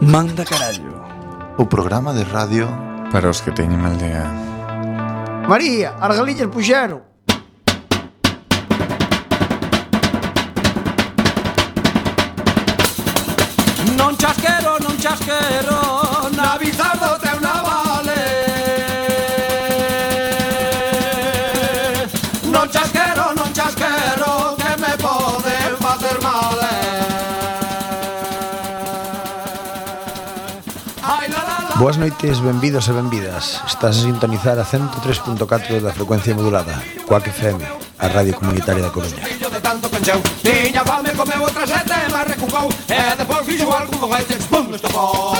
Manda carallo O programa de radio Para os que teñen aldea María, Argalillas puxeron Non chasquero, non chasquero Na bizardo te una vale Non chasquero, non chasquero Que me poden facer mal eh. Ai, la, la, la. Boas noites, benvidos e benvidas Estás a sintonizar a 103.4 da frecuencia modulada Coac FM, a radio comunitaria da Coruña Fillo de tanto pencheu Tiña fame, comeu outra sete, mas recucou E depois fixo algo con este Pum, estopou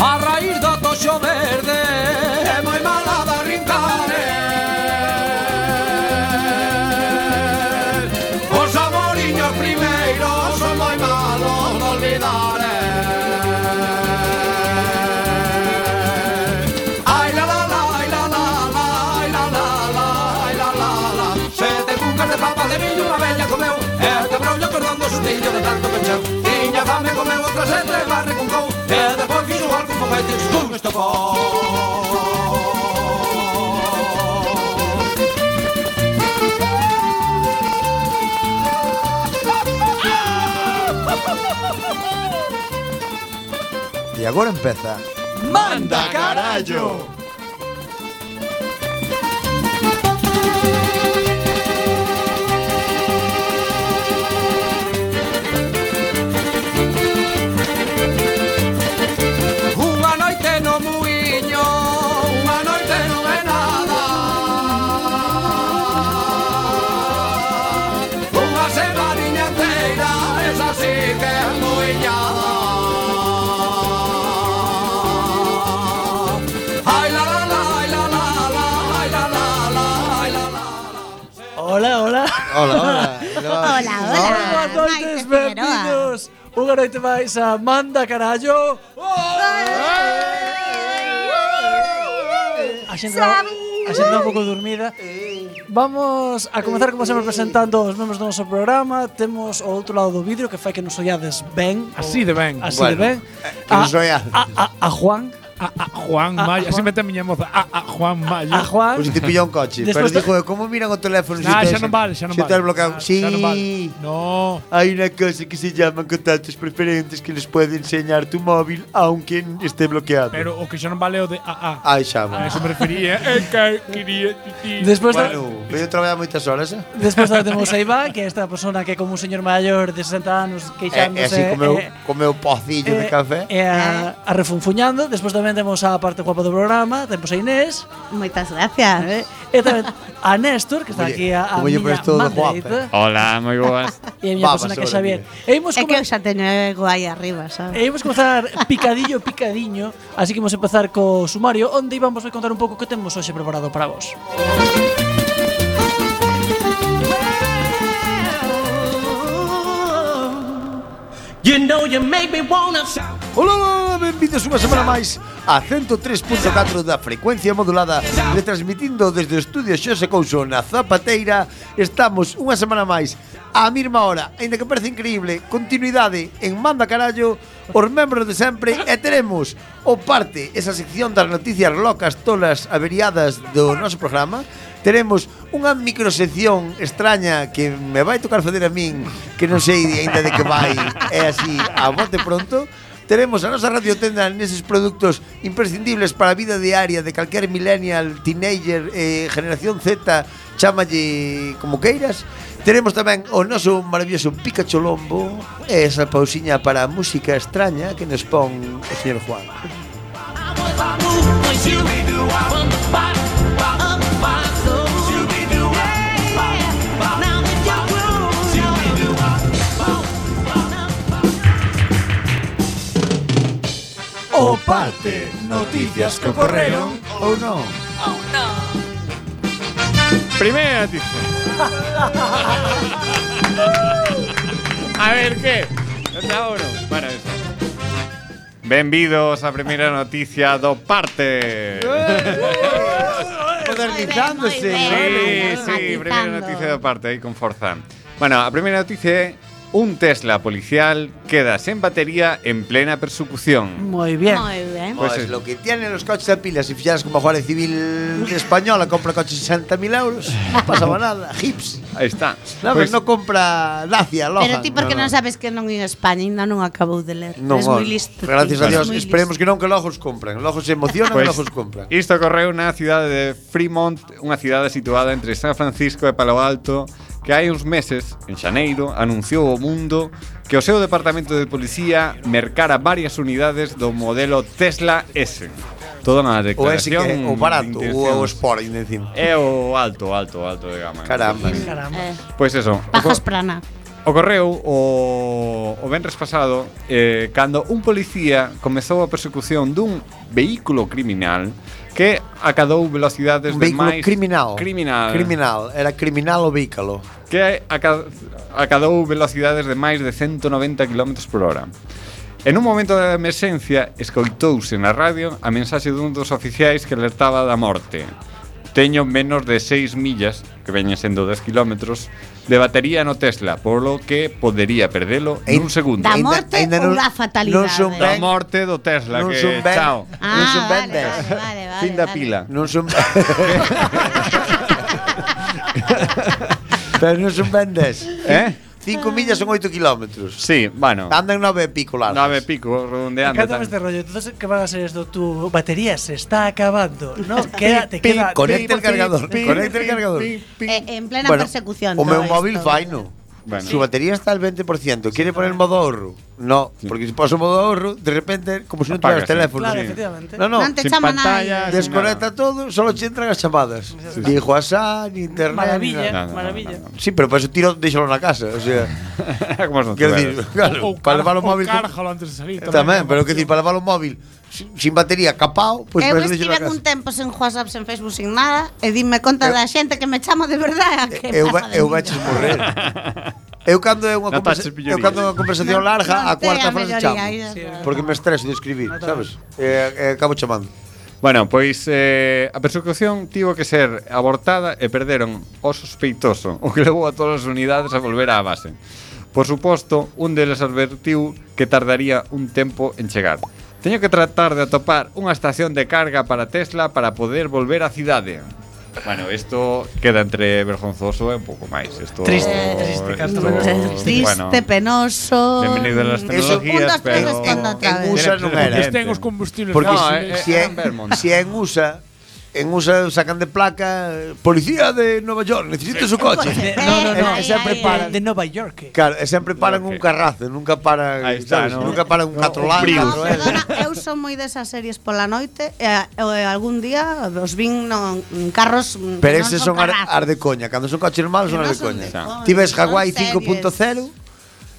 A raíz do toxo verde É moi mala da rincare eh. Os amoriños primeiros Son moi malos de olvidar eh. Ai la la la, ai la la la Ai la la la, ai la la la Sete cucas de papa de millo Unha bella comeu E este brollo cordón do sustillo De tanto pencheu Tiña fame comeu outra sete Mas recuncou E depois fixo algo con feites Con estopou E agora empeza Manda carallo. Unha noite no muiño, unha noite non é nada. Unha semaniña inteira, esa sí que é muiñada. Ai la la la, ai la la la, ai la la la, ai la la la. Hola, hola Hola, hola Hola, Hola, hola. boas noites, Maite Figueroa. benvidos Unha noite máis a Manda Carallo A xente dá- a xente dá un pouco dormida Vamos a comenzar como sempre presentando os membros do noso programa Temos o outro lado do vidro que fai que nos ollades ben Así de ben. Así Bueno, eh, de ben que nos ollades. a, a, a Juan A, a Juan A- a Mayo. Así Juan- mete a miña moza. A, a Juan Mayo. A Juan Pois te pillou un coche Despois Pero de- dijo, como miran o teléfono Nah, te- xa non Ah, vale, xa non vale. se te has bloqueado Nah, Sí xa non vale. No. Hay una cosa que se llaman contactos preferentes que les puede enseñar tu móvil aunque esté bloqueado. Pero o que xa non vale é o de a a. Ai, A xa, bueno. eso me refería. É que quería ti. Despois da, Bueno, veio traballar moitas horas, eh? Despois tamén temos a Iván, que é esta persona que é como un señor maior de 60 anos É, queixándose é Eh, así comeu, e- comeu pocillo de e- café. E a, a refunfuñando Despois tamén temos a parte guapa do programa Temos a Inés Moitas gracias. eh? E tamén a Néstor, que está Oye, aquí a, a como lle miña prestou do man guapa, eh. dereita Hola, moi boas. E a miña Babas persona que é ahora, Xavier mire. E imos, É que eu come, xa teño ego aí arriba, Eh, e sabes? imos comenzar picadillo, picadiño Así que imos empezar co sumario Onde Iván vos vai contar un pouco que temos hoxe preparado para vos You know you make me wanna shout. Hola, hola, hola, benvidos unha semana máis a 103.4 da frecuencia modulada retransmitindo desde o estudio Xose Couso na Zapateira estamos unha semana máis á mesma hora, ainda que parece increíble continuidade en Manda Carallo os membros de sempre e teremos o parte esa sección das noticias locas, tolas, averiadas do noso programa teremos unha microsección extraña que me vai tocar fazer a min que non sei aínda de que vai é así a bote pronto Teremos a nosa radiotenda neses produtos imprescindibles para a vida diaria de calquer millennial, teenager, eh, generación Z, chamalle como queiras. Teremos tamén o noso maravilloso Pikachu Lombo, e esa pausiña para a música extraña que nos pon o señor Juan. O o parte. Noticias que ocorreron ou non. Primera noticia. a ver, ¿qué? ¿Dónde ahora? Para eso. Benvidos a primeira noticia do parte. Modernizándose. Muy ¿no? bien, muy bien. Sí, sí, Matizando. primera noticia de parte ahí con Forza. Bueno, a primera noticia é un Tesla policial queda sen batería en plena persecución. Muy bien. Muy bien. Pues Pues es es- lo que tienen los coches de pilas. Si ficharas como Guardia Civil Española, compra coches 60.000 euros, no pasaba nada. Hips. Ahí está. Pues Sabes, Pois- no compra Dacia, Lohan. Pero ti por que no, non no. sabes que non en España ainda non acabou de ler. No, es moi listo. Gracias ti, a eres Dios. moi Esperemos listo. que non que lojos compran. Lojos se emocionan, Pois, lojos compran. Pues, Isto ocorreu na cidade de Fremont, unha cidade situada entre San Francisco e Palo Alto, que hai uns meses, en xaneiro, anunciou ao mundo que o seu departamento de policía mercara varias unidades do modelo Tesla S. Toda unha O ese que declaración... é o barato, de o, o intencións. Sport, ainda encima. É o alto, alto, alto de gama. Caramba. Eh, Caramba. Pois eso. pajas oco- prana. Ocorreu o, o venres pasado eh, cando un policía comezou a persecución dun vehículo criminal que acadou velocidades Un de vehículo máis criminal. criminal, Criminal. Era criminal o vehículo. que aca- acadou velocidades de máis de 190 km por hora. En un momento de emerxencia escoitouse na radio a mensaxe dun dos oficiais que alertaba da morte. Teño menos de 6 millas, que veñen sendo 10 km, de batería no Tesla, polo que podería perdelo en Ei, un segundo. Da Ainda- morte ainda ou non- da fatalidade? non son Da ben- morte do Tesla, non que son ben- chao. non son Ah, vale, vendas. vale, vale, vale, fin da vale. pila. Non son... Pero non son vendes. Eh? 5 millas son 8 kilómetros. Sí, bueno. Andan 9 e pico largas. Nove pico, redondeando. Cántame tal. este rollo. Entonces, ¿qué va a ser esto? Tu batería se está acabando. No, queda, te queda. Conecta el cargador. Conecta el cargador. Eh, en plena Bueno, persecución. O meu todo móvil esto. faino. Bueno. Su batería está al 20%. ¿Quiere poner modo ahorro? No, porque si pones modo ahorro, de repente, como si no Apaga, tuvieras teléfono. Claro, Sí. efectivamente. No, no. Non te ¿eh? sin chama pantalla, nada. sin Desconecta todo, solo te entran las llamadas. Ni WhatsApp, ni internet. ni Maravilla, nada. no, no, maravilla. no, Sí, pero para eso tiro, déjalo en la casa. O sea, Como son quiero tuberos. decir, claro, para levar o móvil. con- Cárjalo antes de salir. Tamén, pero que decir, para levar o móvil sin, sin batería, capao, pois eu para eso deixo estive na Eh, pues un casa. tempo sen WhatsApp, sen Facebook, sen nada E dime conta Eu- da xente que me chama de verdade a que Eu, pasa de eu mí. gaches morrer. Eu cando é unha Non conversa, taches pillorías. eu cando é unha conversación larga, a Non te cuarta a frase melloría, chamo. aí, verdade. Porque me estreso de escribir, sabes? Eh, eh, acabo chamando. Bueno, pois eh, a persecución tivo que ser abortada e perderon o sospeitoso, o que levou a todas as unidades a volver á base. Por suposto, un deles advertiu que tardaría un tempo en chegar. Teño que tratar de atopar unha estación de carga para Tesla para poder volver á cidade. Bueno, isto queda entre vergonzoso e un pouco máis. Isto, Triste, triste, Castro. Eh, Triste, penoso Bienvenido a las mm, tecnologías, Un, dos, tres, pero- respondo outra en vez. uso non era. Estén os combustibles Porque No, si, eh, si, eh, é, en Vermont. si é en USA, en USA sacan de placa Policía de Nova York, necesito Eh, su coche. De- no, no, no. Ahí, Siempre ahí, para- ahí. de, de Nueva York. Claro, e sempre paran un carrazo, nunca paran, Ahí está, sabes, ¿no? nunca paran un No, catro un lados, Prius. catro No, ejes. perdona, eu son moi desas series pola noite e, e algún día os vin non, en carros mm, que Pero non eses son ar, carrazos. ar de coña, cando son coches malos Que son non ar de son coña. de coña, Ti ves son Hawaii series. 5.0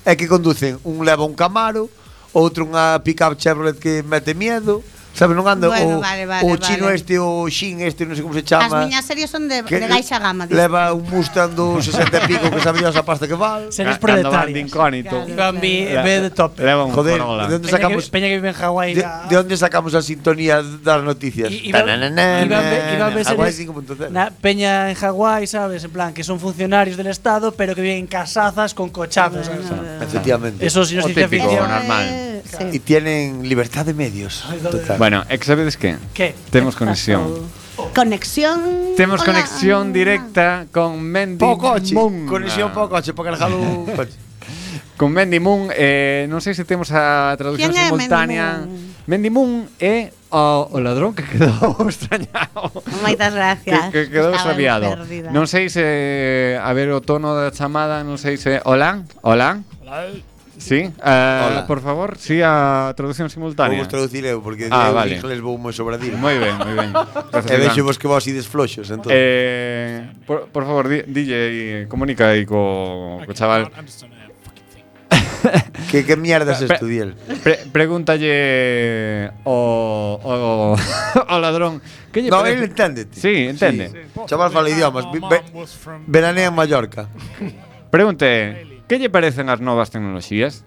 é que conducen, un leva un Camaro, outro unha pickup Chevrolet que mete miedo, sabes, non anda Bueno, o, vale, vale, o chino vale. este, o xin este, non sei como se As chama. miñas series son de, de baixa gama dis- Leva un Mustang do 60 e pico que sabe Dios a pasta que val. Series Cando van de proletarias. incógnito. Gambi en vez de tope. Leva un Joder, Corolla. ¿de dónde Peña que, sacamos? Peña que vive en Hawái. De, de onde sacamos a sintonía das noticias? I- Iba, Tananana, iba a ver- iba a ver Hawaii series- 5.0. na- peña en Hawái, ¿sabes? En plan, que son funcionarios del Estado, pero que viven en casazas con cochazos. ¿sabes? Efectivamente. Eso sí, no O es ciencia típico, ficción. ¿no? normal. Eh, sí. Y tienen libertad de medios. Total. Bueno, é que sabedes que? ¿Qué? Temos conexión. Conexión Temos Hola. conexión directa con Mendy Pouco coche. Moon. Conexión pouco coche para cargar o coche. Con Mendy Moon, eh, non sei se temos a traducción Quen é simultánea. Mendy Moon é o, o ladrón que quedou extrañado. Moitas gracias. Que, que quedou Estaba extraviado. perdida. Non sei se a ver o tono da chamada, non sei se hola, hola. Sí, eh, Hola. por favor, sí a traducción Vou simultánea. vos traducir eu, porque Ah, eu vale. en inglés vou moi sobradil. Moi ben, moi ben. Gracias, E Iván. vexo vos que vos ides floxos, entón. Eh, por, por favor, di- DJ, comunica aí co, co chaval. Que, que mierdas Pe- estudiel. Pre- pregúntalle o, o, o ladrón. Que lle No, Eh, parece- él entende. Sí, entende. Chaval fala idiomas. vi- ve- veranea en Mallorca. Pregunte, que lle parecen as novas tecnoloxías?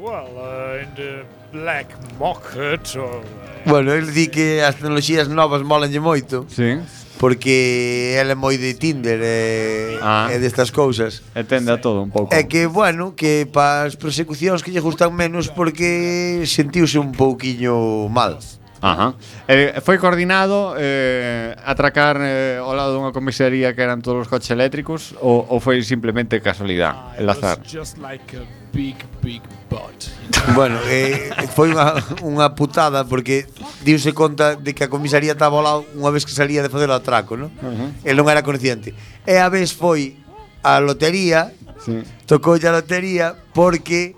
well, uh, in the black market or uh, Bueno, él di que as tecnoloxías novas molanlle moito Sí. porque él é moi de Tinder e, Ah. e destas cousas. Eh, Entende a todo un pouco. É que, bueno, que para as persecucións que lle gustan menos porque sentiuse un pouquiño mal. Ajá. Eh, foi coordinado eh, atracar eh, ao lado dunha comisaría que eran todos os coches eléctricos ou, ou foi simplemente casualidade, el azar? just like a big, big butt. Bueno, eh, foi unha, unha putada porque diuse conta de que a comisaría estaba ao lado unha vez que salía de facer o atraco, non? Ujú. El non era consciente. E a vez foi a lotería, Sí. tocou a lotería porque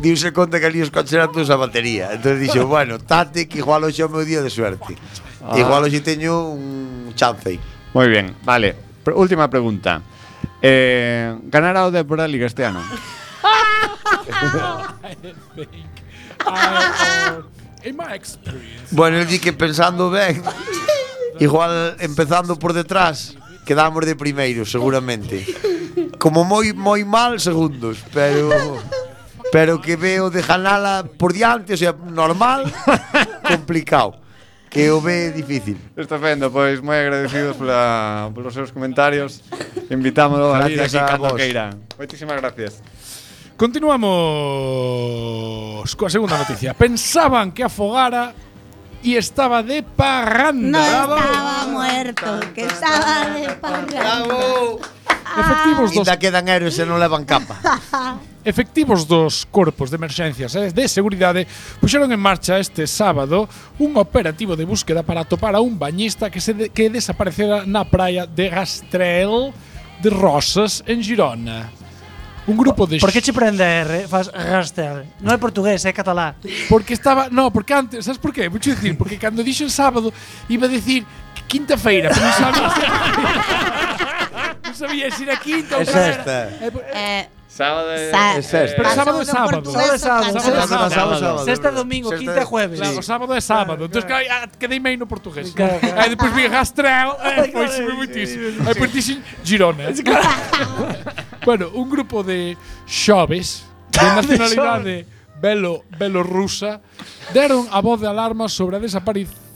diuse conta que ali os coches eran todos a batería. Entón dixo, bueno, tate que igual hoxe é o meu día de suerte. Ah. Igual hoxe teño un chance aí. Moi ben, vale. Pr- última pregunta. Eh, ganará o Débora Liga este ano? I, uh, in my experience, Bueno, el di que pensando ben, igual empezando por detrás, quedamos de primeiro, seguramente. Como moi moi mal segundos, pero pero que veo de ganala por diante, o sea, normal, complicado. Que o ve difícil. Estupendo, pois moi agradecidos pola, polos seus comentarios. Invitámoslo a vir Gracias aquí a cando vos. queira. Moitísimas gracias. Continuamos coa segunda noticia. Pensaban que afogara e estaba de No parranda. estaba muerto, que estaba de parranda. Efectivos dos Ainda quedan héroes e non levan capa. Efectivos dos corpos de emerxencias e de seguridade puxeron en marcha este sábado un operativo de búsqueda para atopar a un bañista que se de- que desaparecera na praia de Rastrel de Rosas en Girona. Un grupo de Por que x- che prende a R? Fas raster. Non é portugués, é catalá. porque estaba, no, porque antes, sabes por qué? Vou dicir, porque cando dixo el sábado iba a decir que quinta feira, pero non sabía. non sabía se era quinta ou Es terceira. esta. Eh, por- Eh, Sábado sa- Es este. Pero pasou sábado é do sábado. portugués ao Sábado é sábado. catalán. Sábado, sábado, sábado. Sexta é domingo, Sexta quinta é é- jueves. Claro, o sábado é sábado. Entón, claro, ah, quedeime aí no portugués. Claro, claro. Aí depois vi Rastrel, e Ai, foi claro, foi muitísimo. Aí por dixen Girona. bueno, un grupo de xoves de nacionalidade belo belorrusa deron a voz de alarma sobre a desaparición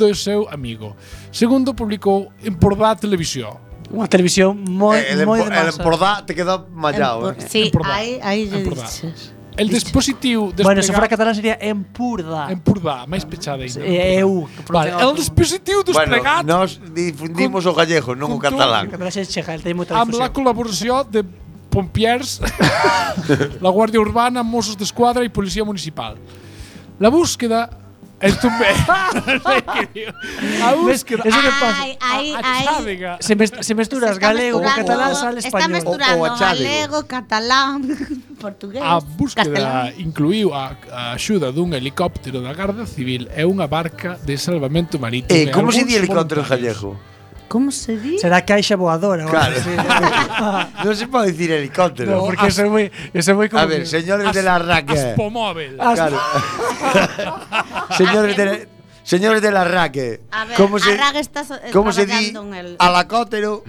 do seu amigo. Segundo publicou en Pordá Televisión. Unha televisión moi Eh, El, moi de empo- el masa. empordá te quedou mallado, eh. Sí, Empordá. aí, aí lle Empordá. dices. El dispositivo Bueno, se fora desplegado catalán sería empurda. en Pordá, máis pechada ainda. É eh, EU. que Vale, pronuncia el dispositivo Bueno, desplegado nos difundimos o gallego, non o con todo- Que catalán. me deixe chegar, teño moita amb la difusión. col·laboració de pompiers, la Guàrdia Urbana, Mossos d'Esquadra i Policia Municipal. La búsqueda és també... a Ves, búsqueda... eso que pasa. Ai, ai, a ai. Xávega. Se, mes- se mesturas Está galego con mesturando- catalán, sale Está O- o español. mesturando achádego. galego, catalán, portugués, Eh, Ah, A búsqueda catalán. incluíu a, a axuda dun helicóptero da Garda Civil e unha barca de salvamento marítimo. e Eh, como se algúns di helicóptero en voluntarios. gallego? Como se di? Será caixa voadora. ou Claro. algo así. non se pode dicir helicóptero. No, porque eso voy, eso voy como A ver, que- señores de la raque. Aspomóvel. Claro. señores de señores de la raque. A ver, ¿Cómo se Arraga está so- eh, cómo se di traballando en el- alacótero?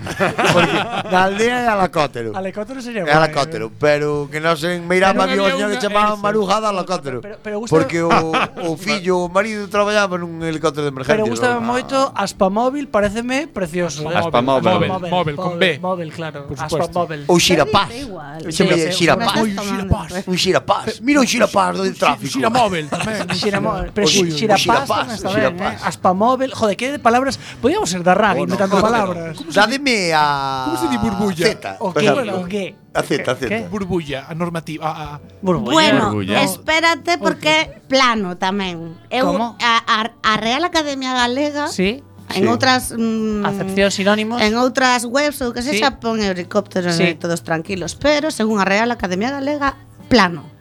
Porque la aldea é alacótero. Helicóptero sería É alacótero, pero que non sei, en Meirama Pero había unha había unha- señora que chamaba eso. Maruja de alacótero. Pero- pero gusta- Porque o, o fillo, o marido traballaba nun helicóptero de emergencia. Pero gustame moito Ah. Aspamóvil, pareceme precioso. eh. Aspamóvil. Móvel, móvel, con B. Móvil, claro. Por supuesto. Aspamóvil. Ou xirapás. igual. Eu Sí, chamei sí, xirapás. Estás Ui, tomando. xirapás. Un xirapás. Mira un xirapás do tráfico. Xiramóvel tamén. Xiramo- Pero Ui, ui, xi- xirapás xirapás, tamén está ben, eh. xirapás. Aspamóvil. Joder, que de palabras. Podíamos ser da rag inventando palabras. Dádeme a Como se di burbulla? Z, O por que, exemplo. o que. A Z, a Z. ¿Qué? Burbulla, a normativa. A, a, Bueno, Orgullo. espérate porque plano tamén. Eu Como? A, a- a Real Academia Galega Sí. en Sí. outras mm, Acepción sinónimos. En outras webs ou que Sí. sexa pon helicóptero e Sí. todos tranquilos, pero según a Real Academia Galega, plano.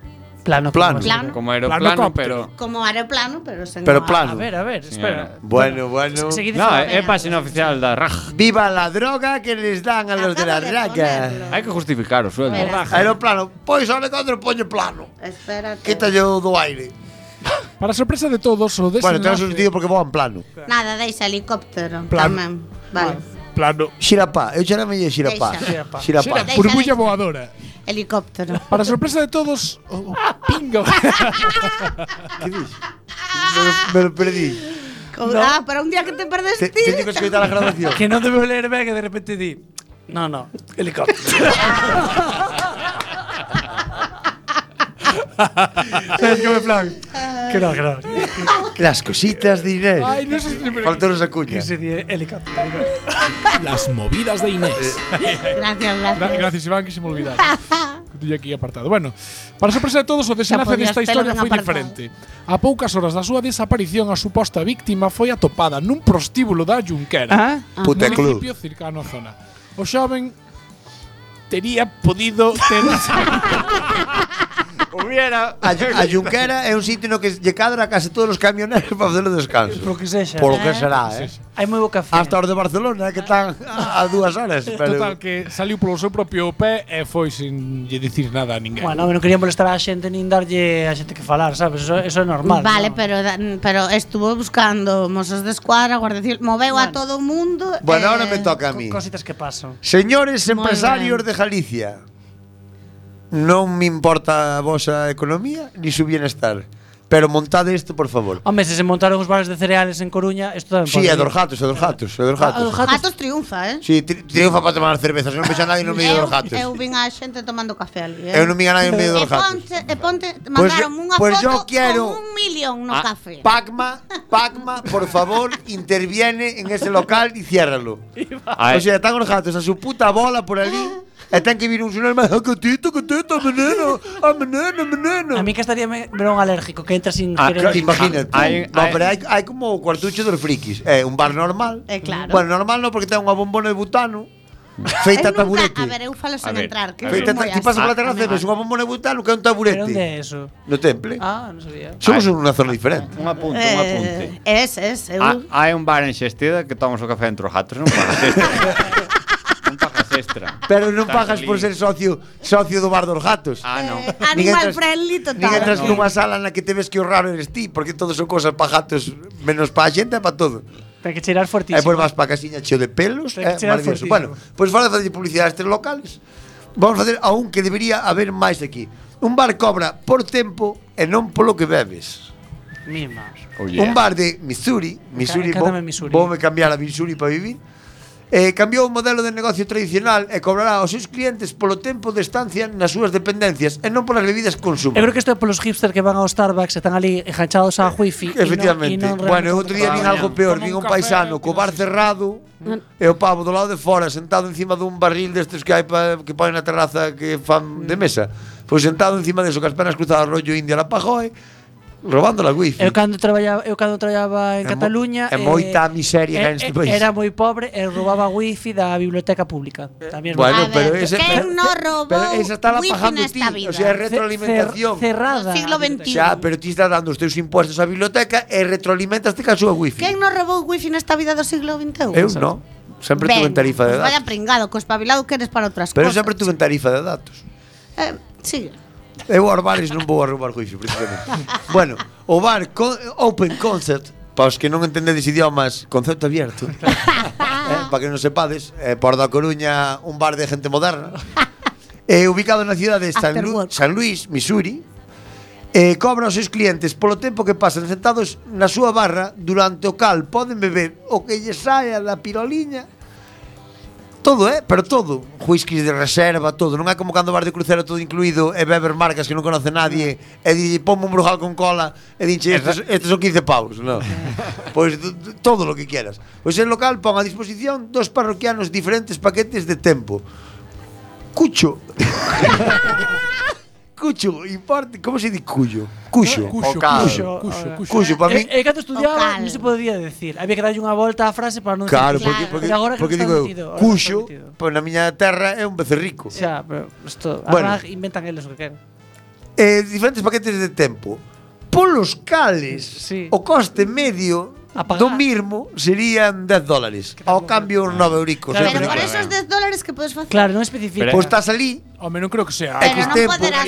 Plano. Plano. como Plano. Como aeroplano, Planocóptero. pero. Como aeroplano, pero sen Pero o plano. A ver, a ver, espera. Señora. Bueno, bueno. Seguides No, falando. é, é página oficial da eh. RAJ. Viva la droga que les dan a los de la Acabo de raya. ponerlo. Hai que justificar o sueldo. Verás. Aeroplano, pois o helicóptero poñe plano. Espérate. Quítalle o do aire. Para sorpresa de todos, o Bueno, ten desenlace… sentido porque voan plano. Nada, deixa helicóptero. Plan. Tamén. Vale. Plano. Xirapá, eu xa meille xirapá. Deixa. Xirapá. Xirapá. burbulla voadora. Helicóptero. Para sorpresa de todos, o o pingo. Me, lo- me lo perdí. Ah, para un día que te perdes Te, ti. teño que escoitar a grabación. Que non debeu ler ben e de repente di No, no, helicóptero Sabes que me plan? Que non, que non Las cositas de Inés. Ai, non sei se… Faltounos a cuña. Que se di helicóptero helicóptero. Las movidas de Inés. Eh. Gracias, Gra- gracias. Gracias, Iván, que se me olvidara. Que tiña aquí apartado. Bueno, para sorpresa de todos, o desenlace podías desta historia telo en foi apartado. diferente. A poucas horas da súa desaparición, a suposta víctima foi atopada nun prostíbulo da Junquera. Ah, Puta Un club. municipio cercano á zona. O xoven tería podido ter Hubiera. A, a Junquera é un sitio no que lle cadra a case todos os camioneros para facer o descanso. Por que sexa Por lo que será, eh. Hai moi bo café Hasta os de Barcelona que están a a dúas horas. Pero total que saliu polo seu propio pé e foi sin lle dicir nada a ninguén. Bueno, non quería molestar a xente nin darlle a xente que falar, sabes? Eso, eso é normal Vale, non? pero da- pero estuvo buscando mozos de escuadra, guardia civil, moveu a Bueno. todo o mundo. eh, Bueno, ahora me toca a mí. Eh, Co- Cositas que pasan Señores Moi empresarios ben. de Galicia, non me importa a vosa economía ni su bienestar, pero montade isto, por favor. Home, se se montaron os bares de cereales en Coruña Isto tamén Sí, e é pode ir. dos gatos, é dos gatos, é dos Ah, gatos. dos gatos. Gatos triunfa, eh? Sí, tri- triunfa para tomar cerveza, se non me xa nadie no medio eu, dos gatos. eu vin a xente tomando café ali, eh? Eu non me a nadie no medio e dos gatos. ponte, e ponte mandaron unha pois foto yo quiero- con un millón no Ah, café. Pacma, Pacma, por favor, interviene en ese local y ciérralo. Ay. O sea, están los gatos a su puta bola por allí. Están que viene un señor más gatito, gatito, meneno, ah, a meneno, meneno. A mí que estaría me- ver un alérgico que entra sin Ah, claro, querer Te Imagínate. Hay- no, hay- pero hay, hay como o cuartucho dos frikis. Eh, un bar normal. Eh, claro. Bueno, normal no porque ten unha bombona de butano. Eu Feita nunca- taburete. A ver, eu falo sen ver, entrar, que a son Ah, ver. Feita moi ta- ti pasas así. pola terraza e ves unha bombona de butano que é un taburete. Pero onde é eso? No temple. Ah, non sabía Somos Ay. unha zona diferente. Un apunte, un apunte. Eh, es, es, eu Ah, hai un bar en Xesteda que tomas o café dentro dos gatos, non pagas extra. non pagas extra. Pero non Estás pagas por ali. ser socio socio do bar dos gatos. Ah, non. eh, Nin animal entras- friendly total. Nin entras no. nunha sala na que te ves que o raro eres ti, porque todo son cosas pa gatos, menos pa xente e pa todo. Ten que cheirar E fortísimo pois vas pa casiña cheo de pelos, Ten que é chegar maravilloso. fortísimo. Bueno, pois fora de facer publicidade a estes locales, vamos facer a un que debería haber máis aquí. Un bar cobra por tempo e non polo que bebes. Mima Oh, yeah. Yeah. Un bar de Missouri, Missouri, vou- encántame Missouri. voume cambiar a Missouri para vivir. Eh, cambiou o modelo de negocio tradicional e cobrará aos seus clientes polo tempo de estancia nas súas dependencias e non polas bebidas que consuman. Eu creo que isto é polos hipster que van ao Starbucks e están ali enganchados a wifi Efectivamente. e non, e non bueno, realmente outro día vin Ah, algo bien. peor, Toma vin un un café, paisano que co bar non sei. cerrado e o pavo do lado de fora sentado encima dun barril destes que hai pa, que ponen na terraza que Mm. fan de mesa. Pois sentado encima deso, cas pernas cruzadas rollo India la Pajoy, robando la wifi. Eu cando traballaba, eu cando traballaba en É mo- Cataluña é moita miseria eh, neste eh, país. Era moi pobre e roubaba wifi da biblioteca pública. Tamén bueno, A ver, pero ese ¿quién no robó pero esa está la wifi pajando nesta ti, o vida? sea, é retroalimentación. cerrada. Siglo a biblioteca. XXI. Xa, pero ti estás dando os teus impuestos á biblioteca eh, e retroalimentaste ca súa wifi. Quen non roubou wifi nesta vida do siglo XXI? Eu non. Sempre Ben, tuve en tarifa de pues Vaya datos. pringado, que espabilado que eres para outras Pero eu cosas. sempre tuve en tarifa de datos. Eh, sigue. Eu aos bares non vou a roubar juicio, precisamente. bueno, o bar co Open Concept, para os que non entendedes idiomas, concepto abierto. eh, para que non sepades, eh, por da Coruña, un bar de gente moderna. Eh, ubicado na cidade de San, After Lu work. San Luis, Missouri, eh, cobra aos seus clientes polo tempo que pasan sentados na súa barra durante o cal poden beber o que lle saia da piroliña Todo, eh? Pero todo. Whiskies de reserva, todo. Non é como cando vas de crucero todo incluído e beber marcas que non conoce nadie e di, ponme un brujal con cola e dinche, estes, estes son 15 pavos, non? pois d- d- todo lo que quieras. Pois el local pon a disposición dos parroquianos diferentes paquetes de tempo. Cucho. cucho, importe, como se di cuyo? Eh, Cuxo. Cuxo, Ocado. cuxo, cuxo, cuxo. Cuxo, para min. eh, E, e cando Eh, estudiaba Ocal. non se podía decir. Había que darlle unha volta á frase para non Claro, decir. porque, porque, Pero agora que porque non digo, eu, está metido, agora non está cuxo, metido. pois na miña terra é un becerrico. Xa, pero isto, Bueno. bueno. inventan eles o que queren. eh, diferentes paquetes de tempo polos cales Sí. o coste medio do mirmo serían 10 dólares ao cambio uns 9 euricos Pero, eh, por pero- esos 10 dólares que puedes facer. Claro, non especifica. Pois estás ali Home, non creo que sea. Pero non tempo, poderás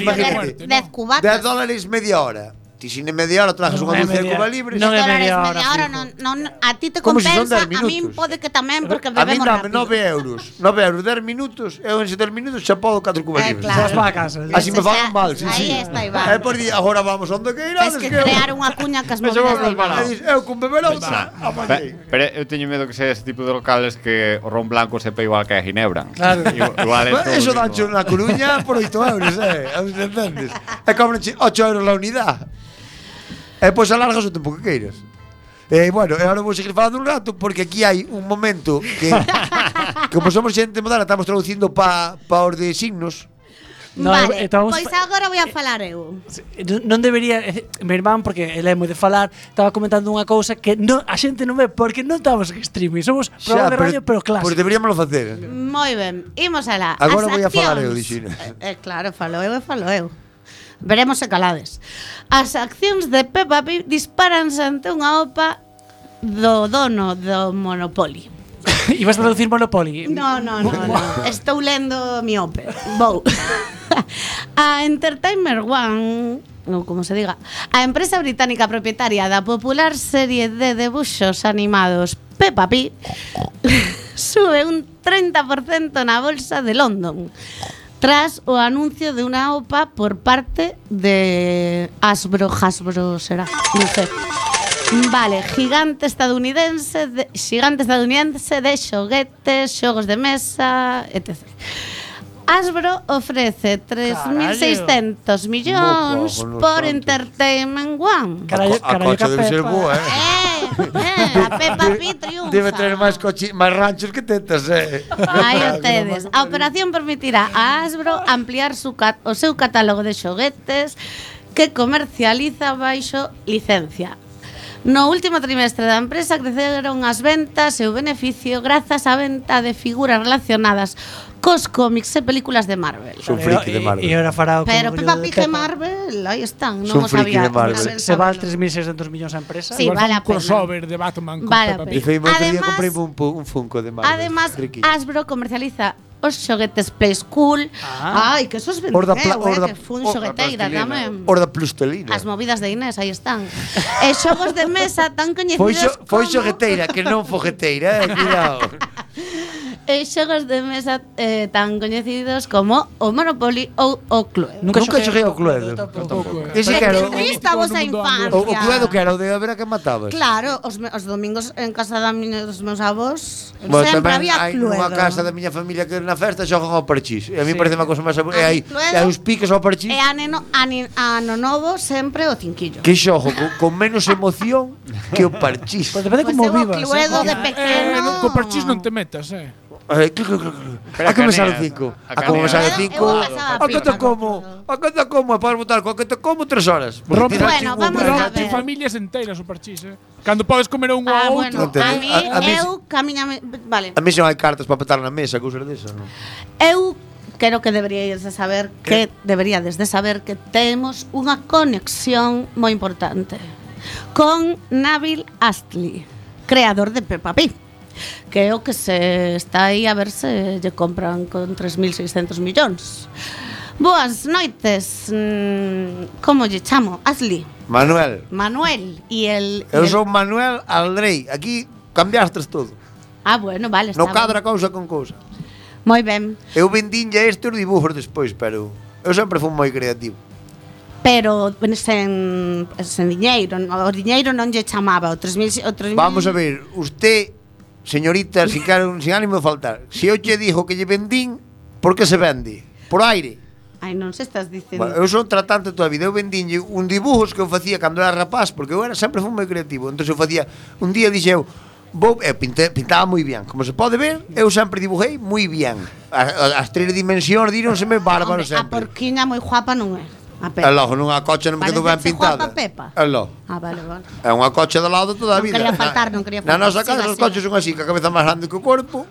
poner imagínate. 10 cubatas. 10 dólares media hora ti sin media hora trajas Non unha é dulce de media- Cuba libre non é dólares media hora, media hora, fijo. non, non, a ti te Como si son compensa, dez a min minutos. pode que tamén porque A mí bebemos dame rápido. 9 euros 9 euros, 10 minutos Eu en 7 minutos xa podo 4 cubas Eh, libres claro. Vas para a casa. Así Ese me xa- falan mal, sí, aí sí. está, Iván. É por día, agora vamos onde que Tes irades que crear unha cuña que as Me movidas de Iván. Eu Eh, con beber outra Pe- Pero eu teño medo que sea ese tipo de locales que o ron blanco sepa igual que a Ginebra. Claro. Igu- Igual é todo Eh, o Eso dancho mismo. na Coruña por 8 euros, eh. Entendes? E cobranche 8 euros la unidade. E pois alargas o tempo que queiras. E bueno, e agora vou seguir falando un rato porque aquí hai un momento que como somos xente moderna estamos traducindo pa pa os de signos. No, vale, estamos- pois agora voy a Eh, falar eu. non debería, eh, mi irmán porque el é moi de falar, estaba comentando unha cousa que non, a xente non ve porque non estamos en streaming, somos programa de radio pero, clásico. Pois deberíamoslo facer. Moi ben, imos alá. Agora As voy a accións- falar eu, dixina. Eh, eh, claro, falo eu e falo eu. Veremos se calades. As accións de Peppa Pig disparanse ante unha opa do dono do Monopoly. Ibas a traducir Monopoly. No, no, no, no. Estou lendo miope. Vou. A Entertainer One ou como se diga, a empresa británica propietaria da popular serie de debuxos animados Peppa Pig sube un 30% na bolsa de London tras o anuncio de unha OPA por parte de Hasbro, Hasbro será, non sei. Vale, gigante estadounidense, de, gigante estadounidense de xoguetes, xogos de mesa, etc. Hasbro ofrece 3.600 millóns Moco, por santos. Entertainment One. Carallo, a, carallo, cocha debe Pepa. ser boa, eh. Eh, eh, a Peppa Pig triunfa. Debe tener máis cochi, máis ranchos que tetas, eh. Aí ustedes. A operación permitirá a Hasbro ampliar su cat o seu catálogo de xoguetes que comercializa baixo licencia. No último trimestre da empresa creceron as ventas e o beneficio grazas á venta de figuras relacionadas cos cómics e películas de Marvel. Son friki de Marvel. E e ahora fará o Pero congollo Peppa eh, de Pig e Peppa. Marvel, aí están, Son non o friki sabía. de Marvel. Saben Se va a saberlo. 3.600 millóns a empresa. Sí, vale a pena. un crossover de Batman con Vale a Peppa pena. E Pig. foi o outro día Además- comprei un, pu- un Funko de Marvel. Además, Friki. Hasbro comercializa os xoguetes Play School. Ah. Ai, que esos vendeu, Os da pla- os eh, da- que fun os da xogueteira plastilina. tamén. Or da plustelina. As movidas de Inés, aí están. e xogos de mesa tan coñecidos Foi, xo, foi como- xogueteira, que non fogueteira, eh, cuidado. E xogos de mesa eh, tan coñecidos como o Monopoly ou o Cluedo. Nunca, xoguei ao Cluedo. Tampouco, eh. Ese que era o, Descubriste a vosa Todo mundo infancia. o, o Cluedo que era o de a ver a que matabas. Claro, os, me, os domingos en casa da miña, dos meus avós Bueno, sempre tamén había hai Cluedo. nunha casa da miña familia que na festa xogan ao parchís. E a mí parece unha cousa máis aburrida. E hai, Ah, Cluedo. e hai uns piques ao parchís. E a, neno, a, ni- a Nonovo sempre o cinquillo. Que xogo con, con menos emoción que o parchís. Pues depende Pois como eu o vivas. eh. Cluedo de Eh, pequeno. non, co parchís non te metas, eh. Eh, clu, clu, clu, clu. Pero A a que me canela, sale cinco. a A que me canela. sale Eu- cinco. eu pasaba A que te pipa. como. A que te como. E podes botar coa que te como tres horas. Porque Rompe, tiras Bueno, cinco vamos horas. a rompe ver. familias enteiras o parchís, eh. Cando podes comer un Ah, ou bueno, outro. outro. a mí, A- a mí- eu, camiña, vale, A mí xa non hai cartas para petar na mesa, cousas desa, non? eu creo que deberíades de saber que deberíades de saber que temos unha conexión moi importante con Nabil Astley, creador de Peppa Pig. Que é o que se está aí a ver se lle compran con 3.600 millóns. Boas noites, mm, como lle chamo? Asli, Manuel. Manuel e el... e Eu el- sou Manuel Aldrei. Aquí cambiastes todo. Ah, bueno, vale, está Non ben. cadra cousa con cousa. Moi ben. Eu vendinlle estes dibujos despois, pero eu sempre fui moi creativo. Pero sen, sen diñeiro, o diñeiro non lle chamaba, o 3000, o 3000 Vamos a ver, usted, señorita, sin, caro- sin ánimo de faltar, se eu che dijo que lle vendín, por que se vende? Por aire. Ai, non se estás dicendo. Bueno, eu son tratante toda a vida, eu vendinlle un dibujos que eu facía cando era rapaz, porque eu era sempre fui moi creativo. Entón eu facía, un día dixen eu, vou, eu pinte, pintaba moi bien, como se pode ver, eu sempre dibujei moi bien. As, as tres dimensións díronse me Hombre, bárbaros a sempre. porquiña moi guapa non é. A Pepa. Aló, con unha cocha non me quedou ben Parecese guapa pintada. Pepa. Aló. Ah, vale, vale. É unha cocha de lado toda a Non vida. quería faltar, non quería faltar. Na nosa casa Siga, os siga. coches son así, que a cabeza máis grande que o corpo,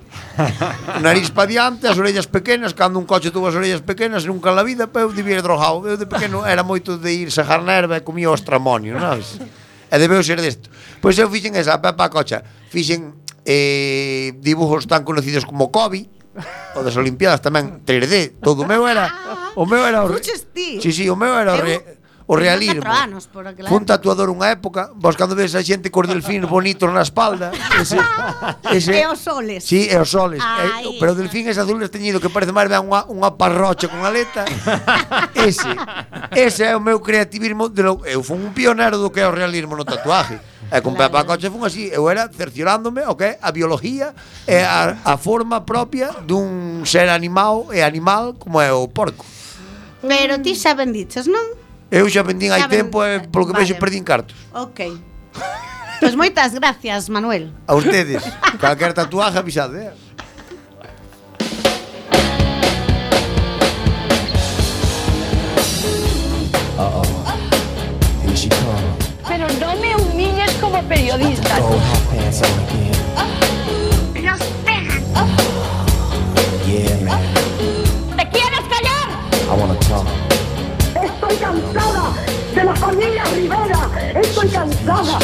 nariz pa diante, as orellas pequenas, cando un coche tuvo as orellas pequenas, nunca en la vida, pa eu debía ir drogado. Eu de pequeno era moito de ir sajar na erva e comía ostramonio, sabes? E debeu ser desto. Pois eu fixen esa pepa cocha. Fixen eh, dibujos tan conocidos como Kobe, o das Olimpiadas tamén 3D, todo o meu era o meu era o re... Fuches ti. Sí, sí, o meu era Eu- o, re... o realismo. 24 anos, por aquela Fue un tatuador unha época, vos cando ves a xente cos delfín bonitos na espalda, ese, ese E os soles. Sí, e os soles. Ai. Eh, pero o delfín ese azul esteñido que parece máis ben unha, unha parrocha con aleta. ese, ese é o meu creativismo de lo, eu fui un pionero do que é o realismo no tatuaje. E con Claro. Pepa Coche fun así, eu era cerciorándome o que é a biología e a, a forma propia dun ser animado e animal como é o porco. Pero ti xa bendiches, non? Eu xa vendín hai Xa ven- tempo e polo que Vale. vexo perdín cartos. Ok. Pois moitas gracias, Manuel. A ustedes, calquer tatuaje avisade, eh? Eh, oh, Pero no me humilles como periodista. Nos pegan. ¿Te quieres callar? Estoy cansada de la familia Rivera. Estoy cansada.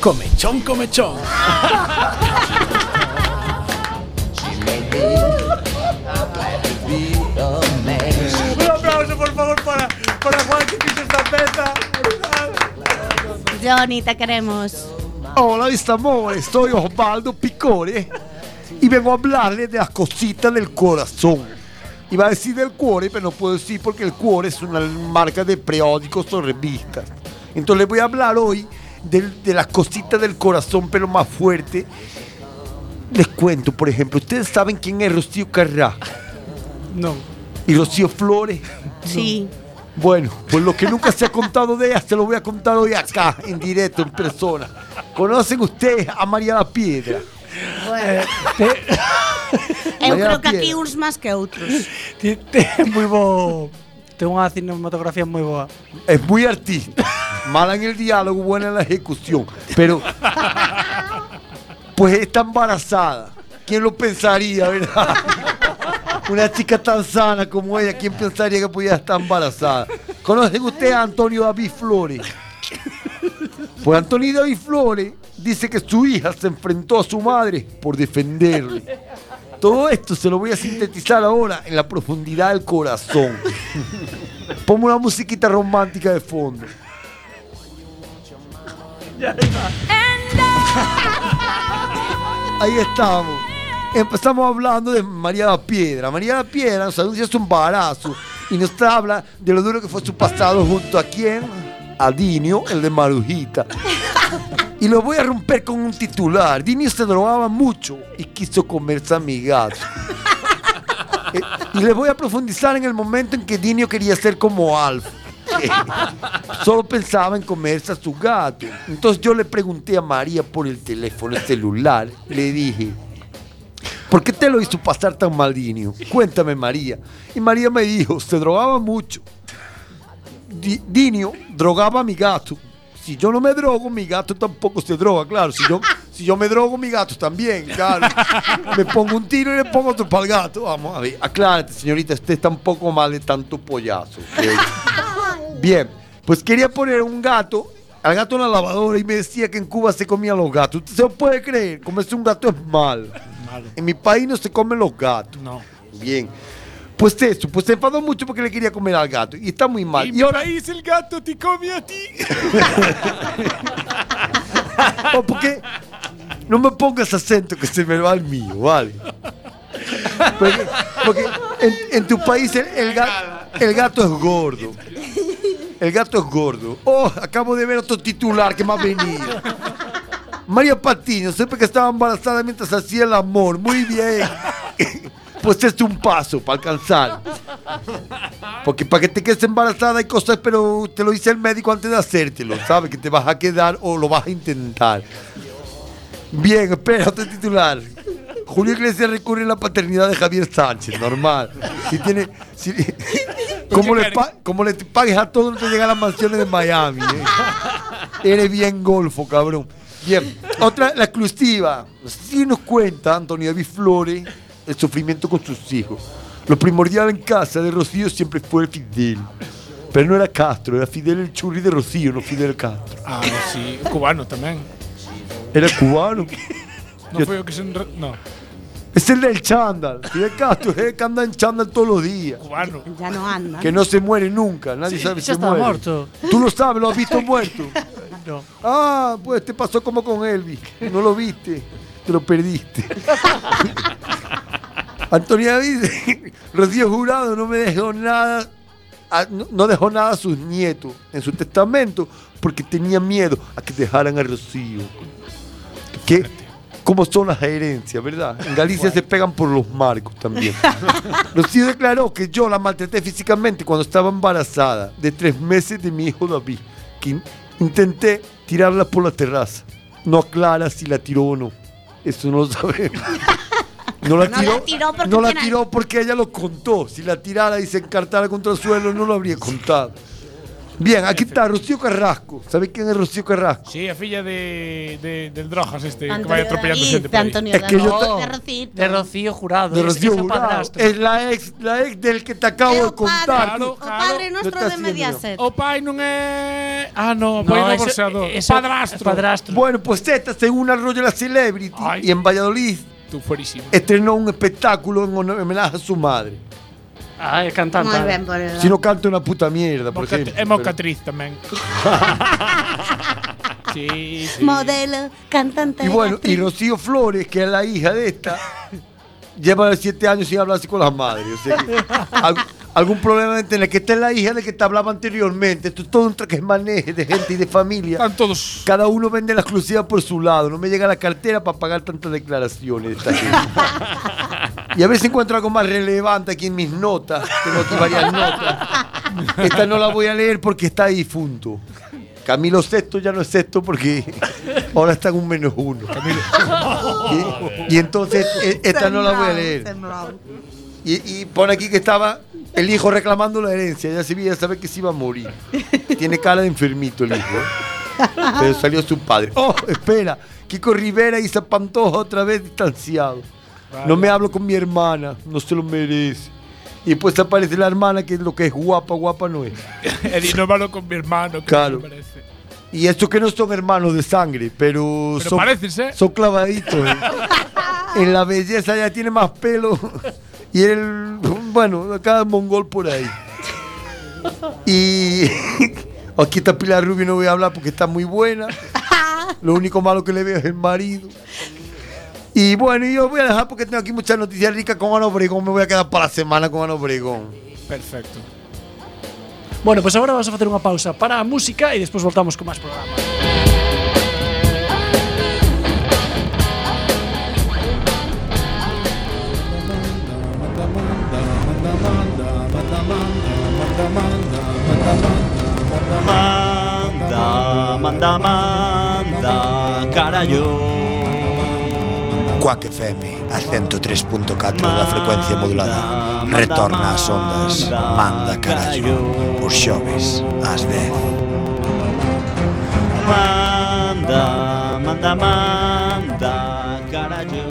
Comechón, comechón. Un aplauso, por favor, para, para Juan que quiso esta peta. Johnny, te queremos. Hola, mis amores, soy Osvaldo Picore y vengo a hablarles de las cositas del corazón. Iba a decir del cuore, pero no puedo decir porque el cuore es una marca de periódicos o revistas. Entonces les voy a hablar hoy del- de las cositas del corazón, pero más fuerte. Les cuento, por ejemplo, ¿ustedes saben quién es Rocío Carrá Non. y Rocío Flores? Sí. Bueno, pues lo que nunca se ha contado de ella se lo voy a contar hoy acá, en directo, en persona. ¿Conocen ustedes a María la Piedra? Eh, Bueno. Eu Manuel creo que aquí Piedra. uns máis que outros. Ti- ti- Moi bo. Ten unha cinematografía moi boa. Es muy artista, mala en el diálogo, buena en la ejecución, pero pues está embarazada. ¿Quién lo pensaría, verdad? Una chica tan sana como ella, ¿quién pensaría que pudiera estar embarazada? ¿Conocen ustedes a Antonio David Flores? Pues Antonio David Flores dice que su hija se enfrentó a su madre por defenderle. Todo esto se lo voy a sintetizar ahora en la profundidad del corazón. Pongo una musiquita romántica de fondo. Ahí estamos. Empezamos hablando de María la Piedra. María la Piedra nos anuncia su embarazo y nos habla de lo duro que fue su pasado junto a quién? A Dinio, el de Marujita. Y lo voy a romper con un titular. Dinio se drogaba mucho y quiso comerse a mi gato. Eh, y les voy a profundizar en el momento en que Dinio quería ser como Alf. Solo pensaba en comerse a su gato. Entonces yo le pregunté a María por el teléfono celular. Le dije, ¿por qué te lo hizo pasar tan mal, Dinio? Cuéntame, María. Y María me dijo, se drogaba mucho. Di- Dinio drogaba a mi gato. Si yo no me drogo, mi gato tampoco se droga, claro. Si yo, si yo me drogo, mi gato también, claro. Me pongo un tiro y le pongo otro para el gato. Vamos a ver, aclárate, señorita, usted está un poco mal de tanto pollazo. ¿ok? Bien, pues quería poner un gato, al gato en la lavadora, y me decía que en Cuba se comían los gatos. ¿Usted se lo puede creer? Comerse un gato es mal. En mi país no se comen los gatos. No. Bien. Pues eso, pues se enfadó mucho porque le quería comer al gato. Y está muy mal. Y Y por ahora ahí el gato te come a ti. O porque no me pongas acento que se me va el mío, ¿vale? Porque, porque en, en tu país el, el ga- el gato es gordo. El gato es gordo. Oh, acabo de ver otro titular que me ha venido. María Patiño, siempre que estaba embarazada mientras hacía el amor. Muy bien. Pues es un paso para alcanzar. Porque para que te quedes embarazada hay cosas, pero te lo dice el médico antes de hacértelo, ¿sabes? Que te vas a quedar o lo vas a intentar. Bien, espera, otro titular. Julio Iglesias recurre a la paternidad de Javier Sánchez, normal. Si tiene. si- como, le pa- como le pagues a todos, no te llegan las mansiones de Miami. ¿eh? Eres bien golfo, cabrón. Bien, otra, la exclusiva. Si nos cuenta Antonio David Flores el sufrimiento con sus hijos. Lo primordial en casa de Rocío siempre fue Fidel. Pero no era Castro, era Fidel el churri de Rocío, no Fidel Castro. Ah, sí, cubano tamén. Era cubano. Non Yo- foi o que se... enre- No, Es el del chándal. Fidel Castro es el que anda en chándal todos los días. cubano. Ya no anda. Que no se muere nunca, nadie Sí, sabe si ya está muere. muerto. Tú lo sabes, lo has visto muerto. No. Ah, pues te pasó como con Elvis. No lo viste, te lo perdiste. Antonio David, Rocío Jurado no me dejó nada, a- no no dejó nada a sus nietos en su testamento porque tenía miedo a que dejaran a Rocío. Que, ¿Cómo son las herencias, verdad? En Galicia se pegan por los marcos también. Rocío declaró que yo la maltraté físicamente cuando estaba embarazada de tres meses de mi hijo David, que in- intenté tirarla por la terraza. No aclara si la tiró o no. Eso no lo sabemos. No la No la tiró, tiró porque no la tiene- tiró porque ella lo contó. Si la tirara y se encartara contra el suelo, no lo habría contado. Bien, aquí está Rocío Carrasco. ¿Sabes quién es Rocío Carrasco? Sí, a filla de, de, del Drojas este, que Antonio vai atropellando David, xente por aí. Antonio Es que David, Oh, yo te- de Rocito. De Rocío Jurado. De es- Rocío es el Jurado. padrastro. Es la ex, la ex del que te acabo É de o padre, contar. Claro, o padre claro. nuestro No te de haciendo. Oh, Mediaset. O pai non é... Ah, no, o No, pai no é ese- boxeador. ese- padrastro. Padrastro. Bueno, pues esta, según arroyo la Celebrity Ay. y en Valladolid, Tú fuerísimo. estrenó un espectáculo en honor- en homenaje a su madre. Ah, é cantante. Muy bien por él. Si no canta una puta mierda, por Mocat- ejemplo. É mocatriz tamén. sí, sí. Modelo, cantante. Y bueno, y actriz. Rocío Flores, que es la hija de esta, lleva siete años sin hablarse con las madres. O sea que al- algún problema en tener que esta es la hija de que te hablaba anteriormente. Esto es todo un maneje de gente y de familia. Están todos... Cada uno vende la exclusiva por su lado. No me llega la cartera para pagar tantas declaraciones de esta gente. Y a veces encuentro algo más relevante aquí en mis notas. Tengo aquí varias notas. Esta no la voy a leer porque está difunto. Camilo VI ya no es sexto porque ahora está en un menos uno. Y, y entonces e- esta no la voy a leer. Sembrado, sembrado. Y, y pone aquí que estaba el hijo reclamando la herencia. Ya se veía saber que se iba a morir. Tiene cara de enfermito el hijo. ¿eh? Pero salió su padre. ¡Oh, espera! Kiko Rivera y Zapantoja otra vez distanciado. No me hablo con mi hermana. No se lo merece. Y pues aparece la hermana que es lo que es guapa, guapa no es. Eddie, no malo con mi hermano, que Claro. me parece. Y estos que no son hermanos de sangre, pero, Pero son, pareces, ¿eh? son clavaditos. ¿eh? en la belleza ya tiene más pelo. y el. Bueno, cada mongol por ahí. Y. Aquí está Pilar Rubio, no voy a hablar porque está muy buena. Lo único malo que le veo es el marido. Y bueno, yo voy a dejar porque tengo aquí muchas noticias ricas con Ana Obregón. Me voy a quedar para la semana con Ana Obregón. Perfecto. Bueno, pues agora vamos a facer unha pausa para a música e despois voltamos con máis programa. Manda, manda, manda, carallo. Quack FM, a 103.4 da frecuencia modulada. Retorna ás ondas, manda carallo. Os xoves, ás 10. Manda, manda, manda, carallo.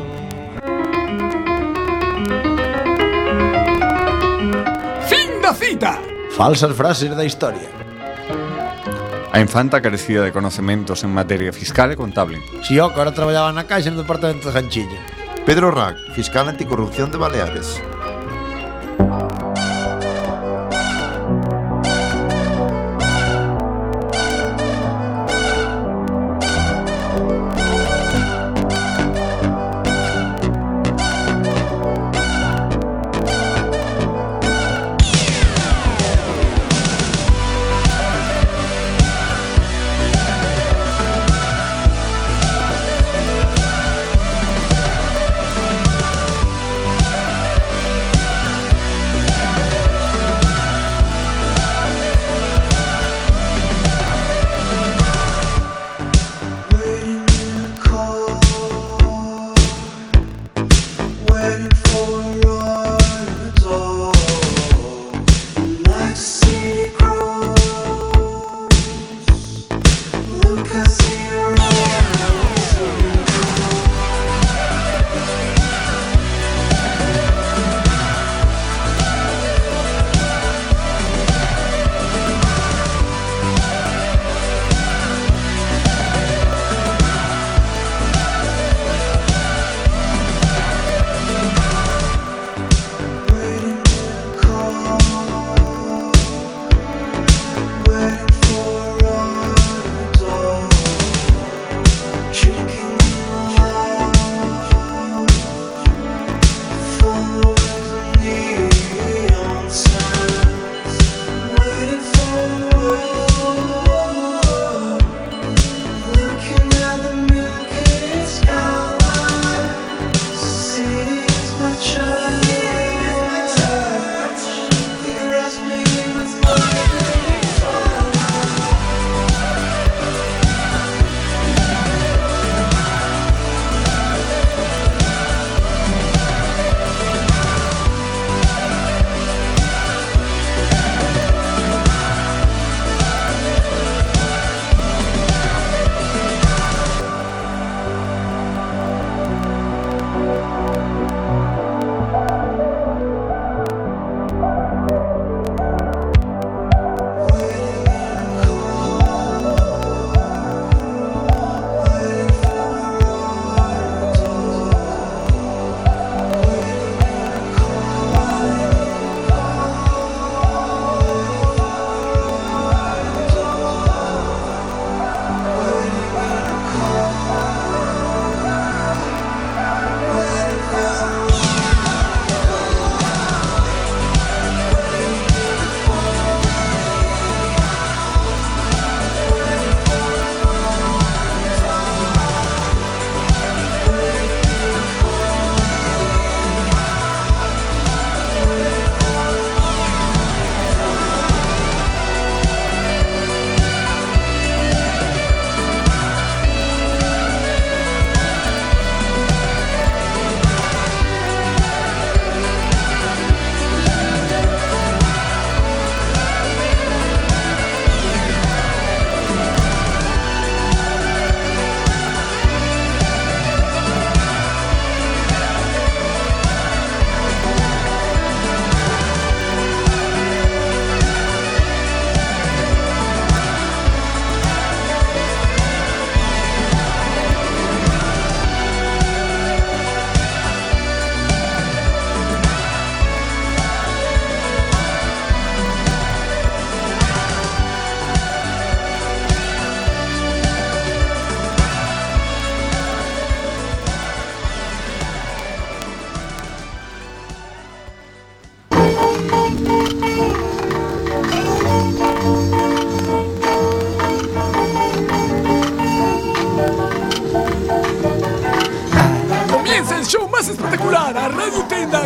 Fin da cita. Falsas frases da historia. A infanta carecía de conocementos en materia fiscal e contable. Si yo, que ahora traballaba na caixa no departamento de Janchilla. Pedro Rack, fiscal anticorrupción de Baleares. Manda,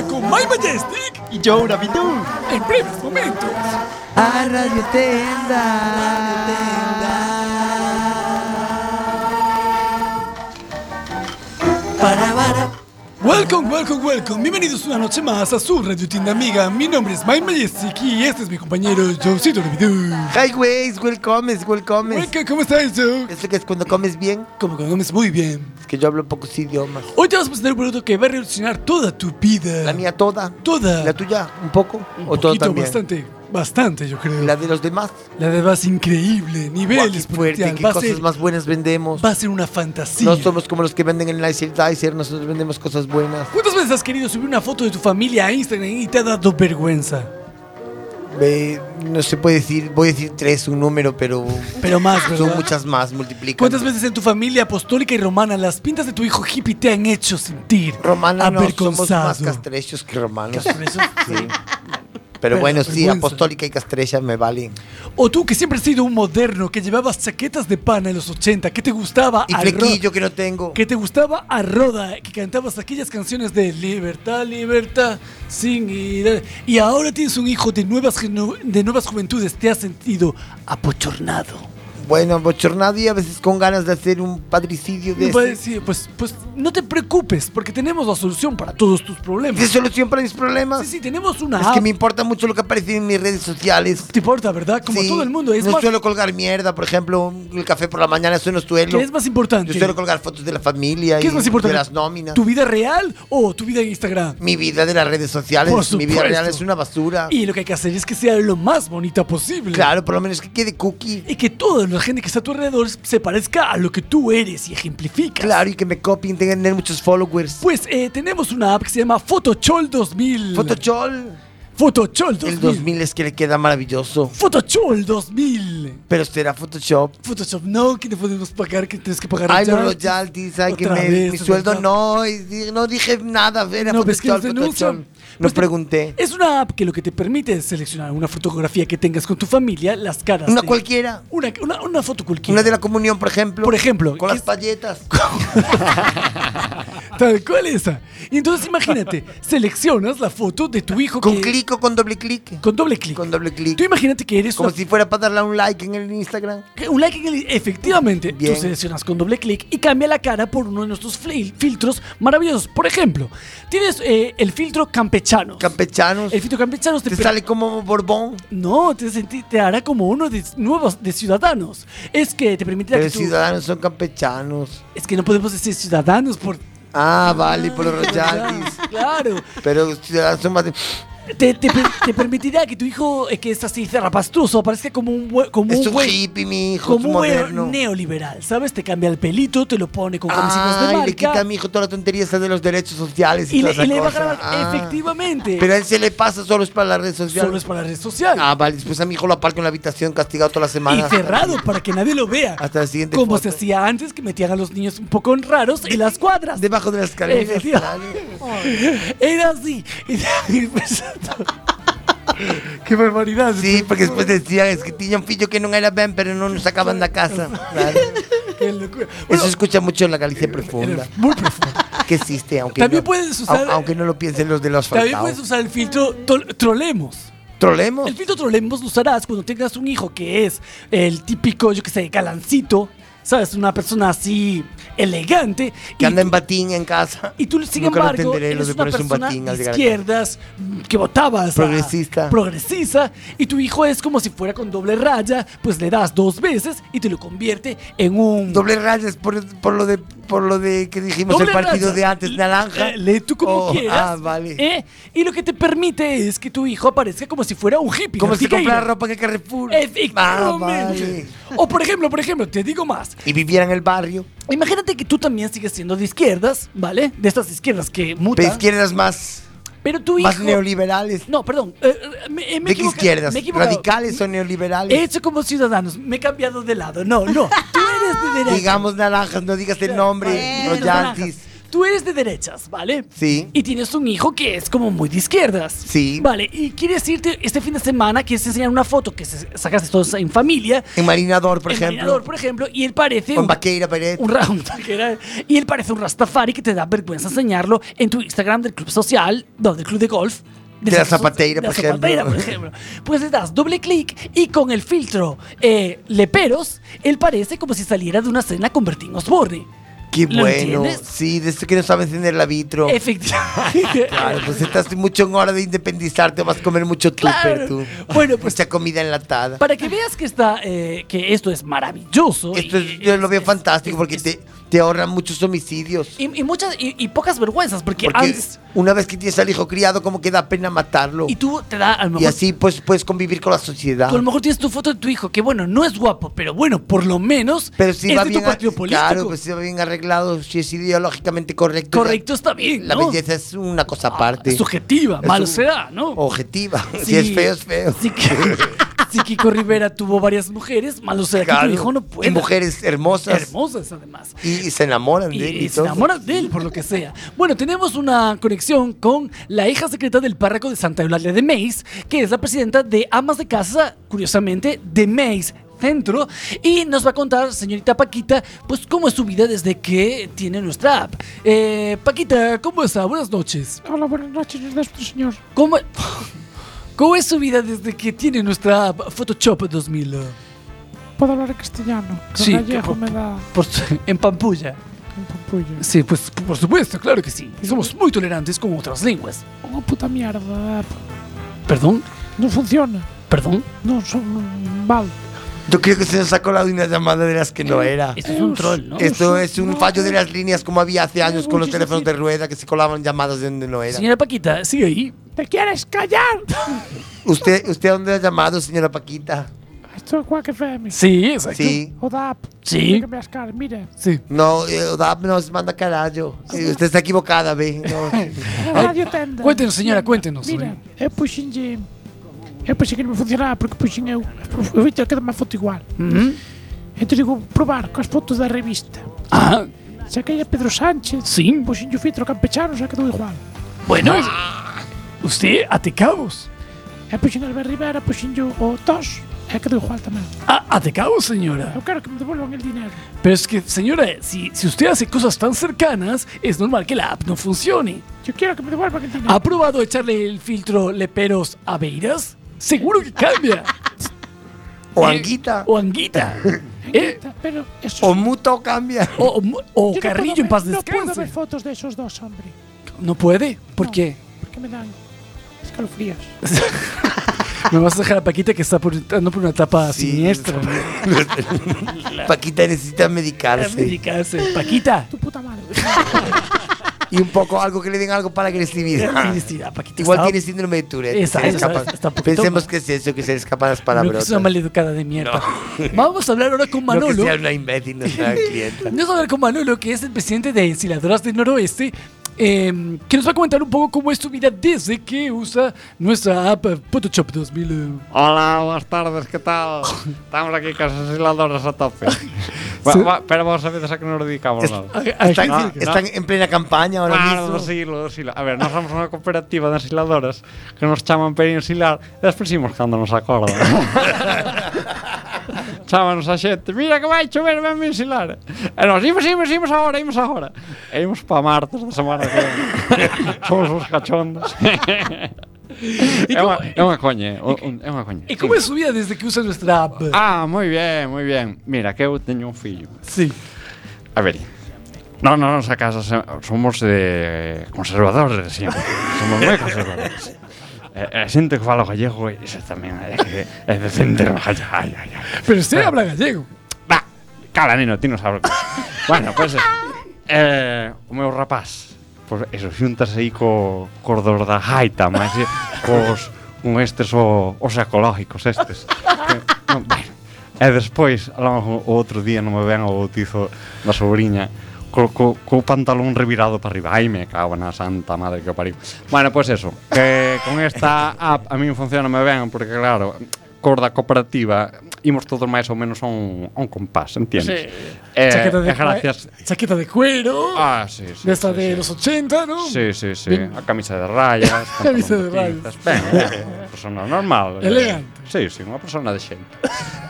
con My Majestic y Joe Navidón en breves momentos. A Radio Tenda. Para, para. Welcome, welcome, welcome. Bienvenidos una noche más a su Radio Tienda Amiga. Mi nombre es My Majestic y este es mi compañero Joecito Navidú. Hi, güeyes, welcome, welcome. Welcome, ¿cómo estás, Joe? ¿Eso que es cuando comes bien? Como cuando comes muy bien. Es que yo hablo pocos idiomas. Hoy te vamos a presentar un producto que va a revolucionar toda tu vida. La mía toda. Toda. ¿La tuya? ¿Un poco? Un ¿O todo poquito, también? bastante. Bastante, yo creo. ¿La de los demás? La de más increíble. Guau, Niveles, qué fuerte, potencial. qué Va a cosas ser- más buenas vendemos. Va a ser una fantasía. No somos como los que venden en el Nicer Dicer, nosotros vendemos cosas buenas. ¿Cuántas veces has querido subir una foto de tu familia a Instagram y te ha dado vergüenza? Ve, no se puede decir, voy a decir tres, un número, pero. Pero más, Son ¿verdad? muchas más, multiplica. ¿Cuántas veces en tu familia apostólica y romana las pintas de tu hijo hippie te han hecho sentir Romana no, somos avergonzado? más castrechos que romanos. ¿Castrechos? Sí. Pero bueno, sí, vergüenza. apostólica y castrecha me valen. o tú que siempre has sido un moderno que llevabas chaquetas de pana en los 80, que te gustaba Y a flequillo que no tengo. Ro- que te gustaba a Roda, que cantabas aquellas canciones de libertad, libertad, sin ir. Y ahora tienes un hijo de nuevas, genu- de nuevas juventudes, te has sentido apochornado. Bueno, bochornado y a veces con ganas de hacer un padricidio de este No puede ese. decir, pues, pues no te preocupes, porque tenemos la solución para todos tus problemas. ¿Es solución para mis problemas? Sí, sí, tenemos una Es app. que me importa mucho lo que aparece en mis redes sociales. Te importa, ¿verdad? Como Sí, todo el mundo. Es no más, suelo colgar mierda, por ejemplo, el café por la mañana, eso no suelo. ¿Qué es más importante? Yo suelo colgar fotos de la familia ¿Qué y es más importante? de las nóminas. ¿Tu vida real o tu vida en Instagram? Mi vida de las redes sociales, Por mi vida supuesto. real es una basura. Y lo que hay que hacer es que sea lo más bonita posible. claro, por lo menos que quede cookie. Y que toda la gente que está a tu alrededor se parezca a lo que tú eres y ejemplificas. Claro, y que me copien, tengan tener muchos followers. Pues eh, tenemos una app que se llama Photochol 2000. Photochol, Photochol 2000. el 2000 es que le queda maravilloso. Photochol 2000. Pero será Photoshop. Photoshop, no, que te podemos pagar, que tienes que pagar Ay, no, allá. los Yaldis, ay, que Otra me- vez, mi sueldo ¿verdad? no, y di- no dije nada, era No, ves que Photoshop, nos denuncian. Photoshop. No Pues te- pregunté. Es una app que lo que te permite es seleccionar una fotografía que tengas con tu familia, las caras. Una de- cualquiera. Una, una- una foto cualquiera. Una de la comunión, por ejemplo. Por ejemplo, Con las es- palletas. Tal cual esa. Y entonces imagínate, seleccionas la foto de tu hijo ¿Con que- clic o con doble clic? con doble clic. Con doble clic. Tú imagínate que eres Como una- si fuera para darle un like en el Instagram. que un like en el- efectivamente Bien. tú seleccionas con doble clic y cambia la cara por uno de nuestros fli- filtros maravillosos. Por ejemplo, tienes eh, el filtro campechano. Campechanos. el filtro campechano Te sale como Borbón. No, te, senti- te hará como uno de nuevos de ciudadanos. Es que te permitirá Pero que los tú- ciudadanos son campechanos. Es que no podemos decir ciudadanos por Ah, vale, por los royalties. Claro. Pero los ciudadanos son más de... Te, te per- te permitirá que tu hijo, eh, que es así zarrapastroso, aparezca como un bue- como Es un un buen- hippie, mi hijo, es como un un buen moderno. neoliberal, ¿sabes? Te cambia el pelito, te lo pone con camisitas de Ah, le quita a marca. mi hijo toda la tontería esa de los derechos sociales y, Y toda le, esa y le va a cosa. grabar, Ah. efectivamente. Pero a él se le pasa solo es para las redes sociales. solo es para la red social. Ah, vale, después a mi hijo lo aparco en la habitación castigado toda la y semana. cerrado para que nadie lo vea. Hasta la siguiente Como foto. se hacía antes, que metían a los niños un poco raros en las cuadras. Debajo de las escaleras. Efectivamente. Era así. Qué barbaridad. Sí, porque después decían, es que tiña un fillo que non era ben, pero non nos sacaban da casa. Claro. Qué locura. eh, Eso se escucha mucho en la Galicia profunda, Muy profundo. que existe, aunque También no, puedes usar- au- aunque no lo piensen los de los También faltados. puedes usar el filtro tol- trolemos. Trolemos. El filtro trolemos lo usarás cuando tengas un hijo que es el típico, yo que sé, galancito, ¿sabes? Una persona así elegante. Que anda tú- en batín en casa. y tú, sin Nunca lo embargo, entenderé, lo eres de una ponerse un persona batín de al llegar a izquierdas mm, que votabas. a- Progresista. progresista. Y tu hijo es como si fuera con doble raya, pues le das dos veces y te lo convierte en un... Doble rayas por, por lo de por lo de que dijimos Doble el partido raya. de antes naranja. Eh, Lee tú como Oh, quieras. Ah, vale. ¿eh? Y lo que te permite es que tu hijo aparezca como si fuera un hippie. Como si antigueiro. comprara ropa en el Carrefour. Ah, Efectivamente. vale. O por ejemplo, por ejemplo, te digo más. Y viviera en el barrio. Imagínate que tú también sigues siendo de izquierdas, ¿vale? De estas izquierdas que De mutan. izquierdas más, Pero tu hijo. más neoliberales. No, perdón. eh, eh, me, eh, me ¿De qué equivoca- izquierdas? me he equivocado. ¿Radicales o neoliberales? He hecho como ciudadanos. Me he cambiado de lado. No, no. Tú eres de derecha. Digamos naranjas, no digas el nombre, Bueno, no yanquis. tú eres de derechas, ¿vale? Sí. Y tienes un hijo que es como muy de izquierdas. Sí. Vale, y quieres irte este fin de semana, quieres enseñar una foto que se- sacaste todos en familia. En Marinador, por en ejemplo. Marinador, por ejemplo, y él parece. O en Vaqueira, Pérez. Un ra- un vaqueira. Y él parece un rastafari que te da vergüenza enseñarlo en tu Instagram del club social, no, del club de golf. De la zapateira, por ejemplo. zapateira, por ejemplo. Pues le das doble clic y con el filtro eh, leperos, él parece como si saliera de una cena con Bertín Osborne. Qué ¿Lo bueno. entiendes? Sí, de esto que no sabe encender la vitro. Efectivamente. Claro, pues estás mucho en hora de independizarte, vas a comer mucho Claro. tupper tú. Bueno, pues. Mucha comida enlatada. Para que veas que, está, eh, que esto es maravilloso. y- Esto es- yo lo veo fantástico porque te, te ahorran muchos homicidios. Y, y muchas y, y pocas vergüenzas, porque, Porque antes. una vez que tienes al hijo criado, como que da pena matarlo. Y tú te da, a lo Y mejor. así pues puedes convivir con la sociedad. tú a lo mejor tienes tu foto de tu hijo, que bueno, no es guapo, pero bueno, por lo menos. Pero si es va de bien, este tu partido a- político. claro, pues si va bien arreglado, si es ideológicamente correcto. Correcto está bien, La ¿no? Ah, belleza es una cosa aparte. es subjetiva, malo un- será, ¿no? Objetiva. Sí. Si es feo, es feo. Sí que- Si Kiko Rivera tuvo varias mujeres, malo será que Claro. tu hijo no Y puede. mujeres hermosas. Hermosas, además. Y, y se enamoran Y, de él. y se todo. enamoran de él, por lo que sea. Bueno, tenemos una conexión con la hija secreta del párroco de Santa Eulalia de Meis, que es la presidenta de Amas de Casa, curiosamente, de Meis Centro, y nos va a contar, señorita Paquita, pues cómo es su vida desde que tiene nuestra app. Eh, Paquita, ¿cómo está? Buenas noches. Hola, buenas noches, señor. ¿Cómo, ¿Cómo es su vida desde que tiene nuestra app Photoshop 2000? eh, Puedo hablar en castellano. que Sí, gallego que- me da por su- en Pampulla? un pampullo. Sí, pues por supuesto, claro que sí. Somos muy tolerantes con otras lenguas. Una puta mierda. ¿Perdón? No funciona. ¿Perdón? No son. Vale. Yo creo que se nos ha colado una llamada de las que no era. Eh, Esto es un troll, ¿no? Esto es un No, fallo de las líneas como había hace años con los muchísimo teléfonos de rueda que se colaban llamadas de donde no era. Señora Paquita, sigue ahí. ¿Te quieres callar? ¿Usted, ¿Usted a dónde ha llamado, señora Paquita? Esto es Quack FM. Sí, exacto. Sí. O DAP. Sí. Tiene que me cara, mire. Sí. Ah, No, eh, Odap nos manda carajo. Sí, usted está equivocada, ve. No. Radio Tenda. Cuéntenos, señora, cuéntenos. Ah, Mira, é eu puxinlle... Eu puxei é que non me funcionaba porque puxin eu... Eu vi que má foto igual. Mhm. Entón digo, probar coas fotos da revista. Ah. Saquei a é Pedro Sánchez. Sí. Puxinlle o filtro campechano, xa quedou igual. Bueno, usted atecabos. E puxin Albert Rivera, puxinlle o tos. E quedou igual tamén. Ah, atecabos, señora. Eu quero que me devolvan el dinero. Pero es que, señora, si, si usted hace cosas tan cercanas, es normal que la app no funcione. Yo quiero que me devuelvan el dinero. ¿Ha probado echarle el filtro leperos a Beiras? Seguro que cambia. Eh, O Anguita. O Anguita. Eh, Pero eso... O Muto cambia. o, o mu- o Yo no Carrillo puedo en paz ver- No puedo descanse. ver fotos de esos dos, hombre. ¿No puede? ¿Por qué? Porque me dan escalofríos. Me vas a dejar a Paquita que está por, entrando por una etapa siniestra. Paquita necesita medicarse. Medicarse. Paquita. Tu puta madre. Y un poco algo que le den algo para agresividad. Agresividad, Paquita. Igual Estaba- tiene síndrome de Tourette. Exacto, se le escapa- está- está un poquito Pensemos mal. que es eso, que se le escapan las No, que palabras. es una maleducada de mierda. Vamos a hablar ahora con No que Manolo. sea una imbécil, no sea clienta. Vamos a hablar con Manolo, que es el presidente de Ensiladoras del Noroeste, eh, que nos va a comentar un poco cómo es su vida desde que usa nuestra app eh, Photoshop 2000. eh. Hola, buenas tardes, ¿qué tal? Estamos aquí con las asiladoras a tope. Va- Sí. va, pero vamos a ver a qué nos dedicamos. nada. Están, No, no. están ah, en plena campaña ahora Claro, mismo. dosilo, dosilo. A ver, nós somos unha cooperativa de ensiladoras que nos chaman para ensilar e despois imos cando nos acordan. Chámanos a xente, mira que vai chover, venme ensilar. E nos imos, imos, imos agora, imos agora. E imos pa martes da semana que ven. Somos os cachondos. E é, unha, é unha coña, é un- é unha coña. ¿Y cómo es su vida desde que usa nuestra app? Ah, moi ben, moi ben. Mira, que eu teño un fillo. Sí. A ver. No, no, nos acaso se- somos eh, conservadores siempre. Somos moi conservadores. Eh, a xente que fala gallego, iso tamén é, é, é decente. Ay, ay, ay, ay. Pero usted habla gallego. Va, cala, neno, ti non sabes. bueno, pois pues, eh, o meu rapaz, pois pues, eso, xuntas aí co, cos dos da jaita, máis eh, cos con estes o, os ecológicos estes. que, non, bueno, e despois, a lo mejor, o outro día non me ven o bautizo da sobrinha co, co, co pantalón revirado para arriba. Ai, me cago na santa madre que o pariu. Bueno, pois pues eso, que con esta app a mí funciona me ben, porque claro, cor da cooperativa imos todos máis ou menos a un, a un compás, entendes? Sí. Eh, Chaqueta de e gracias. cue- Chaqueta de cuero. Ah, sí, sí, De esta sí, de sí. los 80, ¿no? Sí, sí, sí. Bien. A camisa de rayas. Camisa de pantalón rayas. botitas. Ben, eh, unha persona normal. ¿eh? Elegante. Sí, sí, unha persona de xente.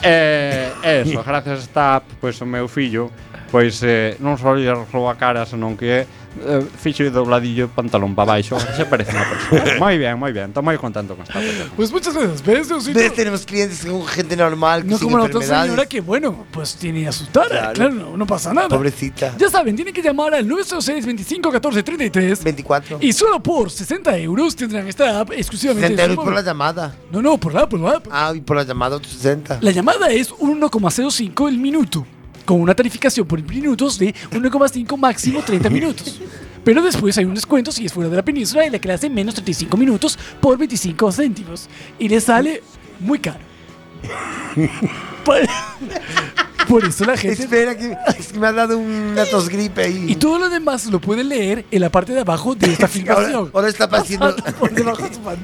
eh, eso, gracias a esta app, pois o meu fillo, pois eh, non só lle roba a cara, senón que eh, fixo dobladillo pantalón para baixo, se parece unha persona. moi ben, moi ben, estou moi contento con esta aplicación. Pues muchas gracias. ¿Ves? Diosito? Entonces tenemos clientes con gente normal, No sin como la otra enfermedades. señora que, bueno, pues tiene a su tara. Claro. Claro, no, no pasa nada. Pobrecita. Ya saben, tienen que llamar al 906 25 14 33 24. Y solo por 60 euros tendrán esta app exclusivamente. 60 en su euros por la móvil. llamada. No, no, por la app, por la app. Ah, y por la llamada otros 60. La llamada es 1,05 el minuto, con una tarificación por minutos de 1,5 máximo 30 minutos. Pero después hay un descuento si es fuera de la península y la clase menos 35 minutos por 25 céntimos. Y le sale muy caro. Por- Por eso la gente... Espera, que, es que me ha dado una tos gripe ahí. Y todo lo demás lo pueden leer en la parte de abajo de esta Ahora, filmación. ahora está apareciendo.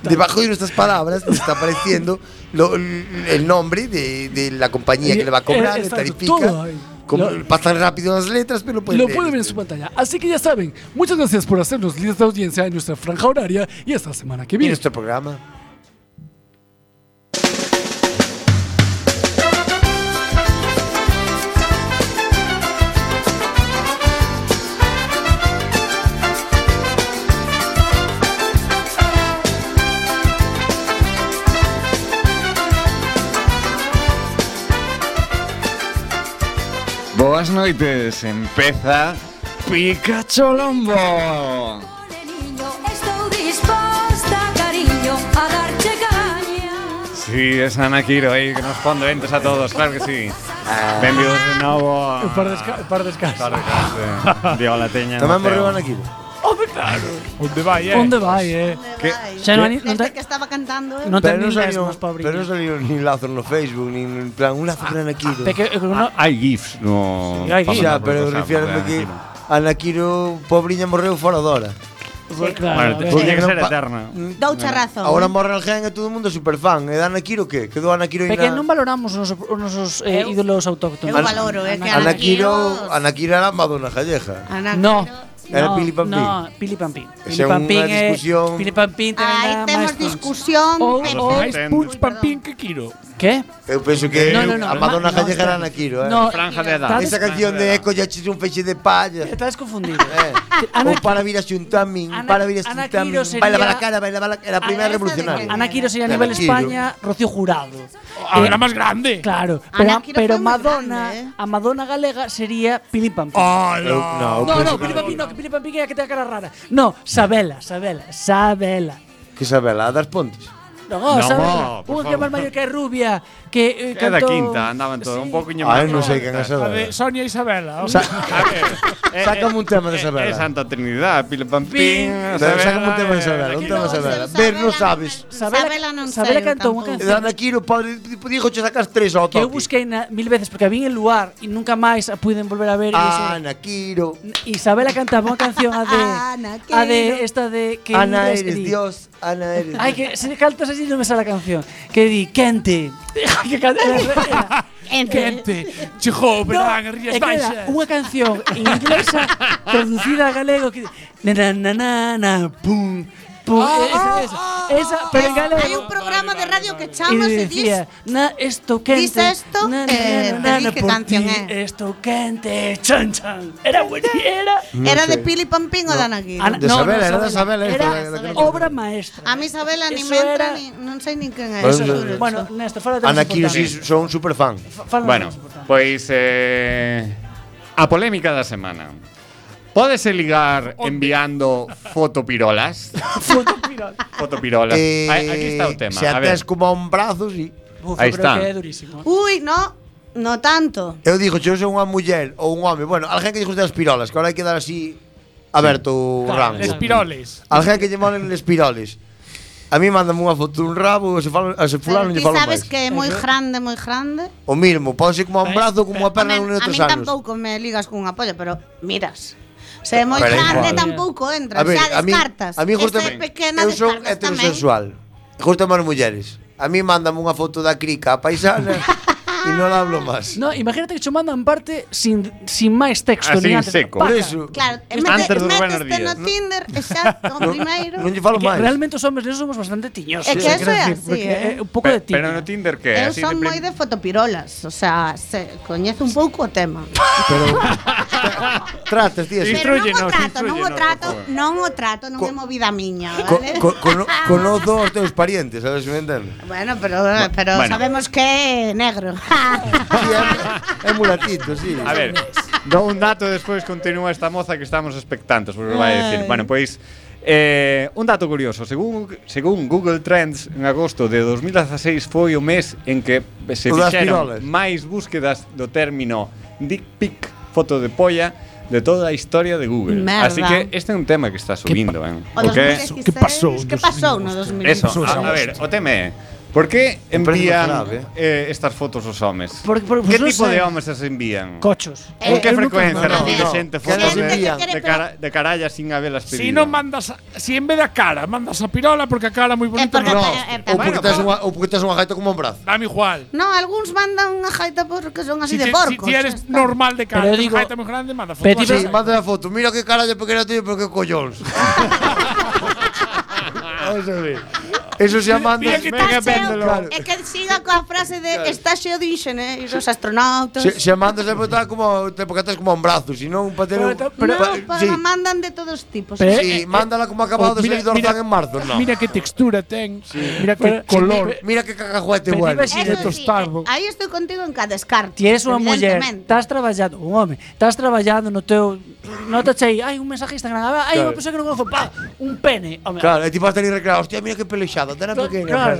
Debajo de nuestras palabras nos está apareciendo lo- el nombre de, de la compañía que le va a cobrar, Eh, le exacto, todo tarifica. ahí. Como- Lo- pasan rápido las letras, pero lo pueden lo leer. pueden ver en su pantalla. Así que ya saben, muchas gracias por hacernos líderes de audiencia en nuestra franja horaria y hasta la semana que Y viene. nuestro programa. Boas noites, empeza Pikachu Lombo. Estou disposta, cariño, a darte caña. Sí, es Ana Quiro ahí, que nos pon de ventas a todos, claro que sí. Benvidos de novo. a- Par desca- par descanso. Para casa. Diego La Teña. Tamén Mateo. morreu Ana Quiro. Oh, Hombre, claro. Onde vai, eh? ¿Dónde va, eh? Ya no, Desde Este que estaba cantando. eh. No te- Pero no También las salió, más pobriñas. pero no salió ni lazo en los Facebook, ni en plan Ah, un lazo para Ana Ah, Quiro. Pe- que- que eh, uno- Hai GIFs no... Sí, hai pasando xa, por pero WhatsApp, eh, refírome que Ana Quiro. Ana Quiro, pobriña, morreu fora de hora. Pues claro, Bueno, a te- ver. tiña que Non ser pa- eterna. Doucha razón. Ahora eh. morre alguén e todo o mundo é superfan. E da Ana Quiro que? Quedou Ana Quiro É que na... non valoramos os nosos, os nosos eh, ídolos autóctonos. Eu valoro, é que Ana Ah. Ana Quiro, Quiro- Ana Quiro era Madonna Galleja. Ana No. Era no, Pili Pampín. No, Pili Pampín. Pili é unha Pampín é- discusión- Pili Pampín ten Aí ainda temos máis fans. discusión. Ou- pero- ou Ai, perdón. Puig Pampín que quiero. Que? Eu penso que No, no, no, a Madonna ma- no, Galleja era espera. Ana Quiro, eh. No, Franja de edad. Estás- Esa canción de Eco ya chiste un feixe de palla. Estás confundido. Eh. Ana- o para vir a xuntar min, Ana- para vir a Ana xuntar min. Quiro sería- Baila para a cara, baila para a cara. Era a primeira esa de revolucionaria. Ana Ana Quiro sería a Ana nivel Quiro. España, eh, Rocío Jurado. A ver, a más grande. Claro, Ana pero, Quiro pero fue muy Madonna, grande, eh. a Madonna galega sería Pili Pampín. Eu, no, eu Oh, No, pues, penso no, Pili Pampín no, que Pili Pampín é a que ten a cara rara. No, Sabela, Sabela, Sabela. que Isabela, a das pontes. No, no Sabela. por Unha que é máis favor. maior que é rubia, que eh, Que da cantou- quinta, andaban todos un pouco Ai, non sei quen é esa. A de Sonia Isabela. Sa Eh, Sácame un tema de eh, eh, Isabela. Santa Trinidad, Pili Pampín. eh, Sácame un tema de Isabela, un tema de Isabela. Ver, non sabes. Sabela- Sabela non Sabela saiu cantou tampouco. unha canción. E Dan Aquino, padre, dijo que sacas tres ao que toque. eu busquei na, mil veces porque a vi en lugar e nunca máis a puiden volver a ver. e iso- Ana Quiro, Isabela cantaba unha canción a de Ana, a quero. de esta de que en Ana inglés eres di- Dios, Ana eres Ai que se cantas así non me sale a canción. Que di quente. que can- era- era- Quente. Chijo, verán, no, rías é que era baixas. unha canción en inglesa traducida a galego que na na na na, na pum pum Ah, esa, esa, esa pero en galego Hay un programa de radio que Y chamas e dis decía, na, esto quente. Dice esto, eh, te di que por canción eh". ti, es. Esto quente, chan, chan. Era buena, era. Era de Pili Pampín o de Ana Quiro. Ana- de Isabela, era de Isabela esta, era la- la que no- obra maestra. A mí Isabela ni Eso me entra, era- ni, non sei nin quen é. Bueno, Eso, eso- juro. Bueno, Néstor, fala de Ana Quiro, sí, son un superfan. Bueno, pois eh, a polémica da semana. Pódese ligar enviando fotopirolas? fotopirolas. Eh, Ai, Aquí está o tema. Se A ver. ates como a un brazo, sí. ahí está. Que é durísimo. Ui, no, no tanto. Eu dixo, eu sou unha muller ou un home. Bueno, alguén que dixo das pirolas, que agora hai que dar así aberto o rango. Les piroles. Alguén que lle molen les piroles. A mí mándame unha foto un rabo, se falo, a Pero se fulano ti lle falo sabes máis. que é moi grande, moi grande. O mismo, pode ser como a un brazo, como A a perna men- a nun outros min anos. tampouco me ligas cunha polla, pero miras. Se é moi Pero é grande, igual. tampouco entras, A ver, xa a mí, descartas. a mí Esta é justamente, pequena, eu son descartas tamén. heterosexual. Gústame as mulleres. A mí mándame unha foto da crica a paisana y no la hablo más. No, imagínate que cho mandan parte sin, sin máis texto. Así, nin antes. Ah, seco. Paca. Por eso. Claro, e Isto- mete, meteste no Tinder, exacto, No, primeiro. non lle falo É que máis. Realmente os homens nesos somos bastante tiñosos. É que eh, eso quero é decir, así, porque eh. é Un pouco de tiño. Pero no Eh, Tinder que Eu así de son prim- moi de fotopirolas, o sea, se, coñezo un pouco o tema. Tratas, tías. Pero non o trato, non o trato, non o trato, non é movida miña, vale? Co- cono- Conozco aos teus parientes, sabes me entendes? Bueno, pero, pero bueno. sabemos que é negro. É mulatito, sí. A ver, dou un dato e despois continúa esta moza que estamos expectantes, porque vai decir. Ai. Bueno, pois eh, un dato curioso, según según Google Trends en agosto de 2016 foi o mes en que eh, se O das fixeron pirolas. máis búsquedas do término dick pic, foto de polla de toda a historia de Google. Merda. Así que este é un tema que está subindo, eh. O Porque- 2016, que pasou? Que pasou no 2016? Eso, a, a ver, o tema é Por que precio envían grave. eh, estas fotos aos homes? Porque- porque, que pois non tipo sei. de homes as envían? Cochos. Con Eh, que eu nunca- frecuencia no, recibe no. xente Que fotos non de, te de, cara, de caralla sin habelas Si pedido? non mandas, a- si en vez da cara mandas a pirola porque a cara moi bonita porque non a é. cara- Ou porque tes unha, ou porque tes unha gaita como un brazo. Dame igual. No, algúns mandan unha jaita porque son así Si, de te- si porcos. ti eres normal de cara, Pero pero digo- digo, jaita moi grande, manda foto. Pero a sí, cara. manda a foto. Mira que cara de pequeno tío, pero que collóns. Vamos a ver. Eso se llama Mira andas. que está cheo, É que siga coa frase de está xeo de inxenieros, os astronautas. Se, se mandas a botar como te botas como un brazo, si non para ter un pero, pa- no, sí. pero mandan de todos tipos. Pero, Sí, eh, mándala como acabado de mira- salir do mira- Orzán en marzo, no. Mira que textura ten, mira que Pero- eh, color. Sí, mira que cacahuete Pero bueno. iba a decir- De tostardo. Aí estou contigo en cada descarte. Ti és unha muller, evidentemente. estás traballando, un home, estás traballando no teu... Nota aí, hai un mensaje de Instagram, ah, hai unha Claro. persoa que non conozo, pa, un pene. Home, Claro, e ti vas ter recreado, hostia, mira que pelexada, tan Claro, pequena. claro.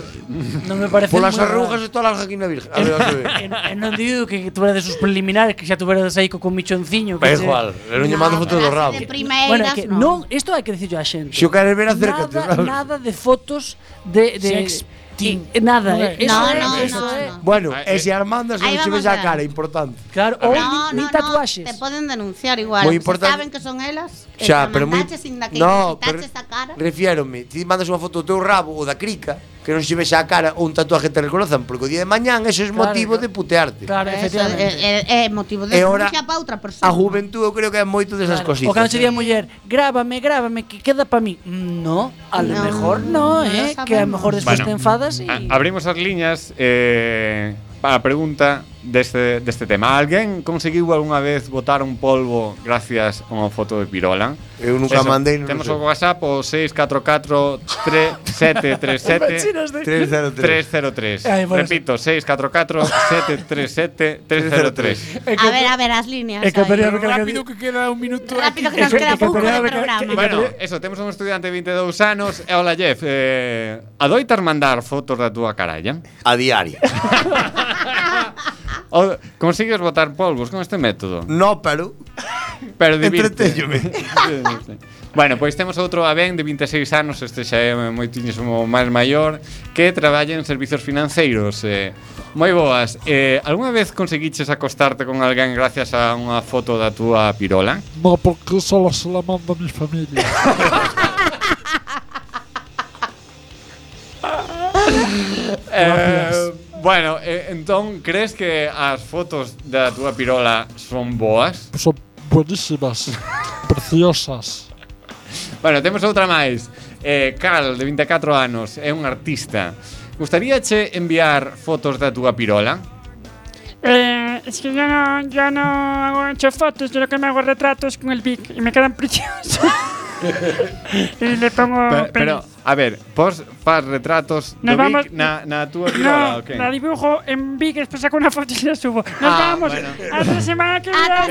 non me parece Polas moi arrugas raro. e toda la jaquina virgen. A ver, a ver. E non- e non digo que tuverades os preliminares que xa tuverades aí co co michonciño Da que che- igual, eu non lle mando foto do rabo. primeiras, bueno, é que non, isto hai que dicirlo a xente. Se o queres ver, acércate, Nada, sabes? nada de fotos de de Sexting. i- nada, Non é. eh, eso No, é- no, eso no, é. Bueno, e se armandas Ahí non che vamos ves a a- cara, é importante. Claro, No, no, no, tatuaxes. te poden denunciar igual. Moi se importante- saben que son elas. e Xa, te pero moi- mandaches sin daqueles, No, pero- quitaches a cara. Refiérome, ti mandas unha foto do teu rabo ou da crica, que non se vexa a cara ou un tatuaje te reconozan, porque o día de mañán eso é Claro, motivo claro. de putearte. Claro, Eso é, é, é motivo de E ora, denuncia para outra persoa. A juventude eu creo que é moito desas Claro, cositas. eh. O cando che di a muller, grábame, grábame, que queda para mí. Mm, No, a lo No, mejor no, eh, que a lo mejor despois Bueno, te enfadas e... A- abrimos as liñas eh, para a pregunta deste, deste este tema. Alguén conseguiu algunha vez botar un polvo gracias a unha foto de pirola? Eu nunca mandei, non Temos sei. o WhatsApp o 644 303. Ay, bueno, Repito, 644 737 303. a ver, a ver, as líneas. é que aí. María Pero Mercado- Rápido que queda un minuto. Rápido que nos queda pouco de programa. Bueno, eso, temos un estudiante de 22 anos E hola Jeff, eh, adoitas mandar fotos da túa caralla? A diario o, Consigues botar polvos con este método? No, pero Pero divirte. Entretéñome. bueno, pois temos outro avén de 26 anos Este xa é moitísimo máis maior Que traballa en servizos financeiros eh, Moi boas eh, Alguna vez conseguiches acostarte con alguén Gracias a unha foto da túa pirola? No, porque solo se la mando a mi familia. Eh, bueno, eh, entón, crees que as fotos da túa pirola son boas? Son buenísimas, preciosas. Bueno, temos outra máis. Eh, Carl, de 24 anos, é un artista. Gustaríache enviar fotos da túa pirola? Eh, es que yo no, yo no hago hecho fotos, yo lo que me hago retratos con el Vic y me quedan preciosos. y le pongo. Pero, pero, pelis. a ver, pos fas retratos Nos do vamos- Vic na, na túa no, pirola, o que? la dibujo en Vic, después saco una foto y la subo. Nos Ah, vamos. bueno. Hasta la semana que viene.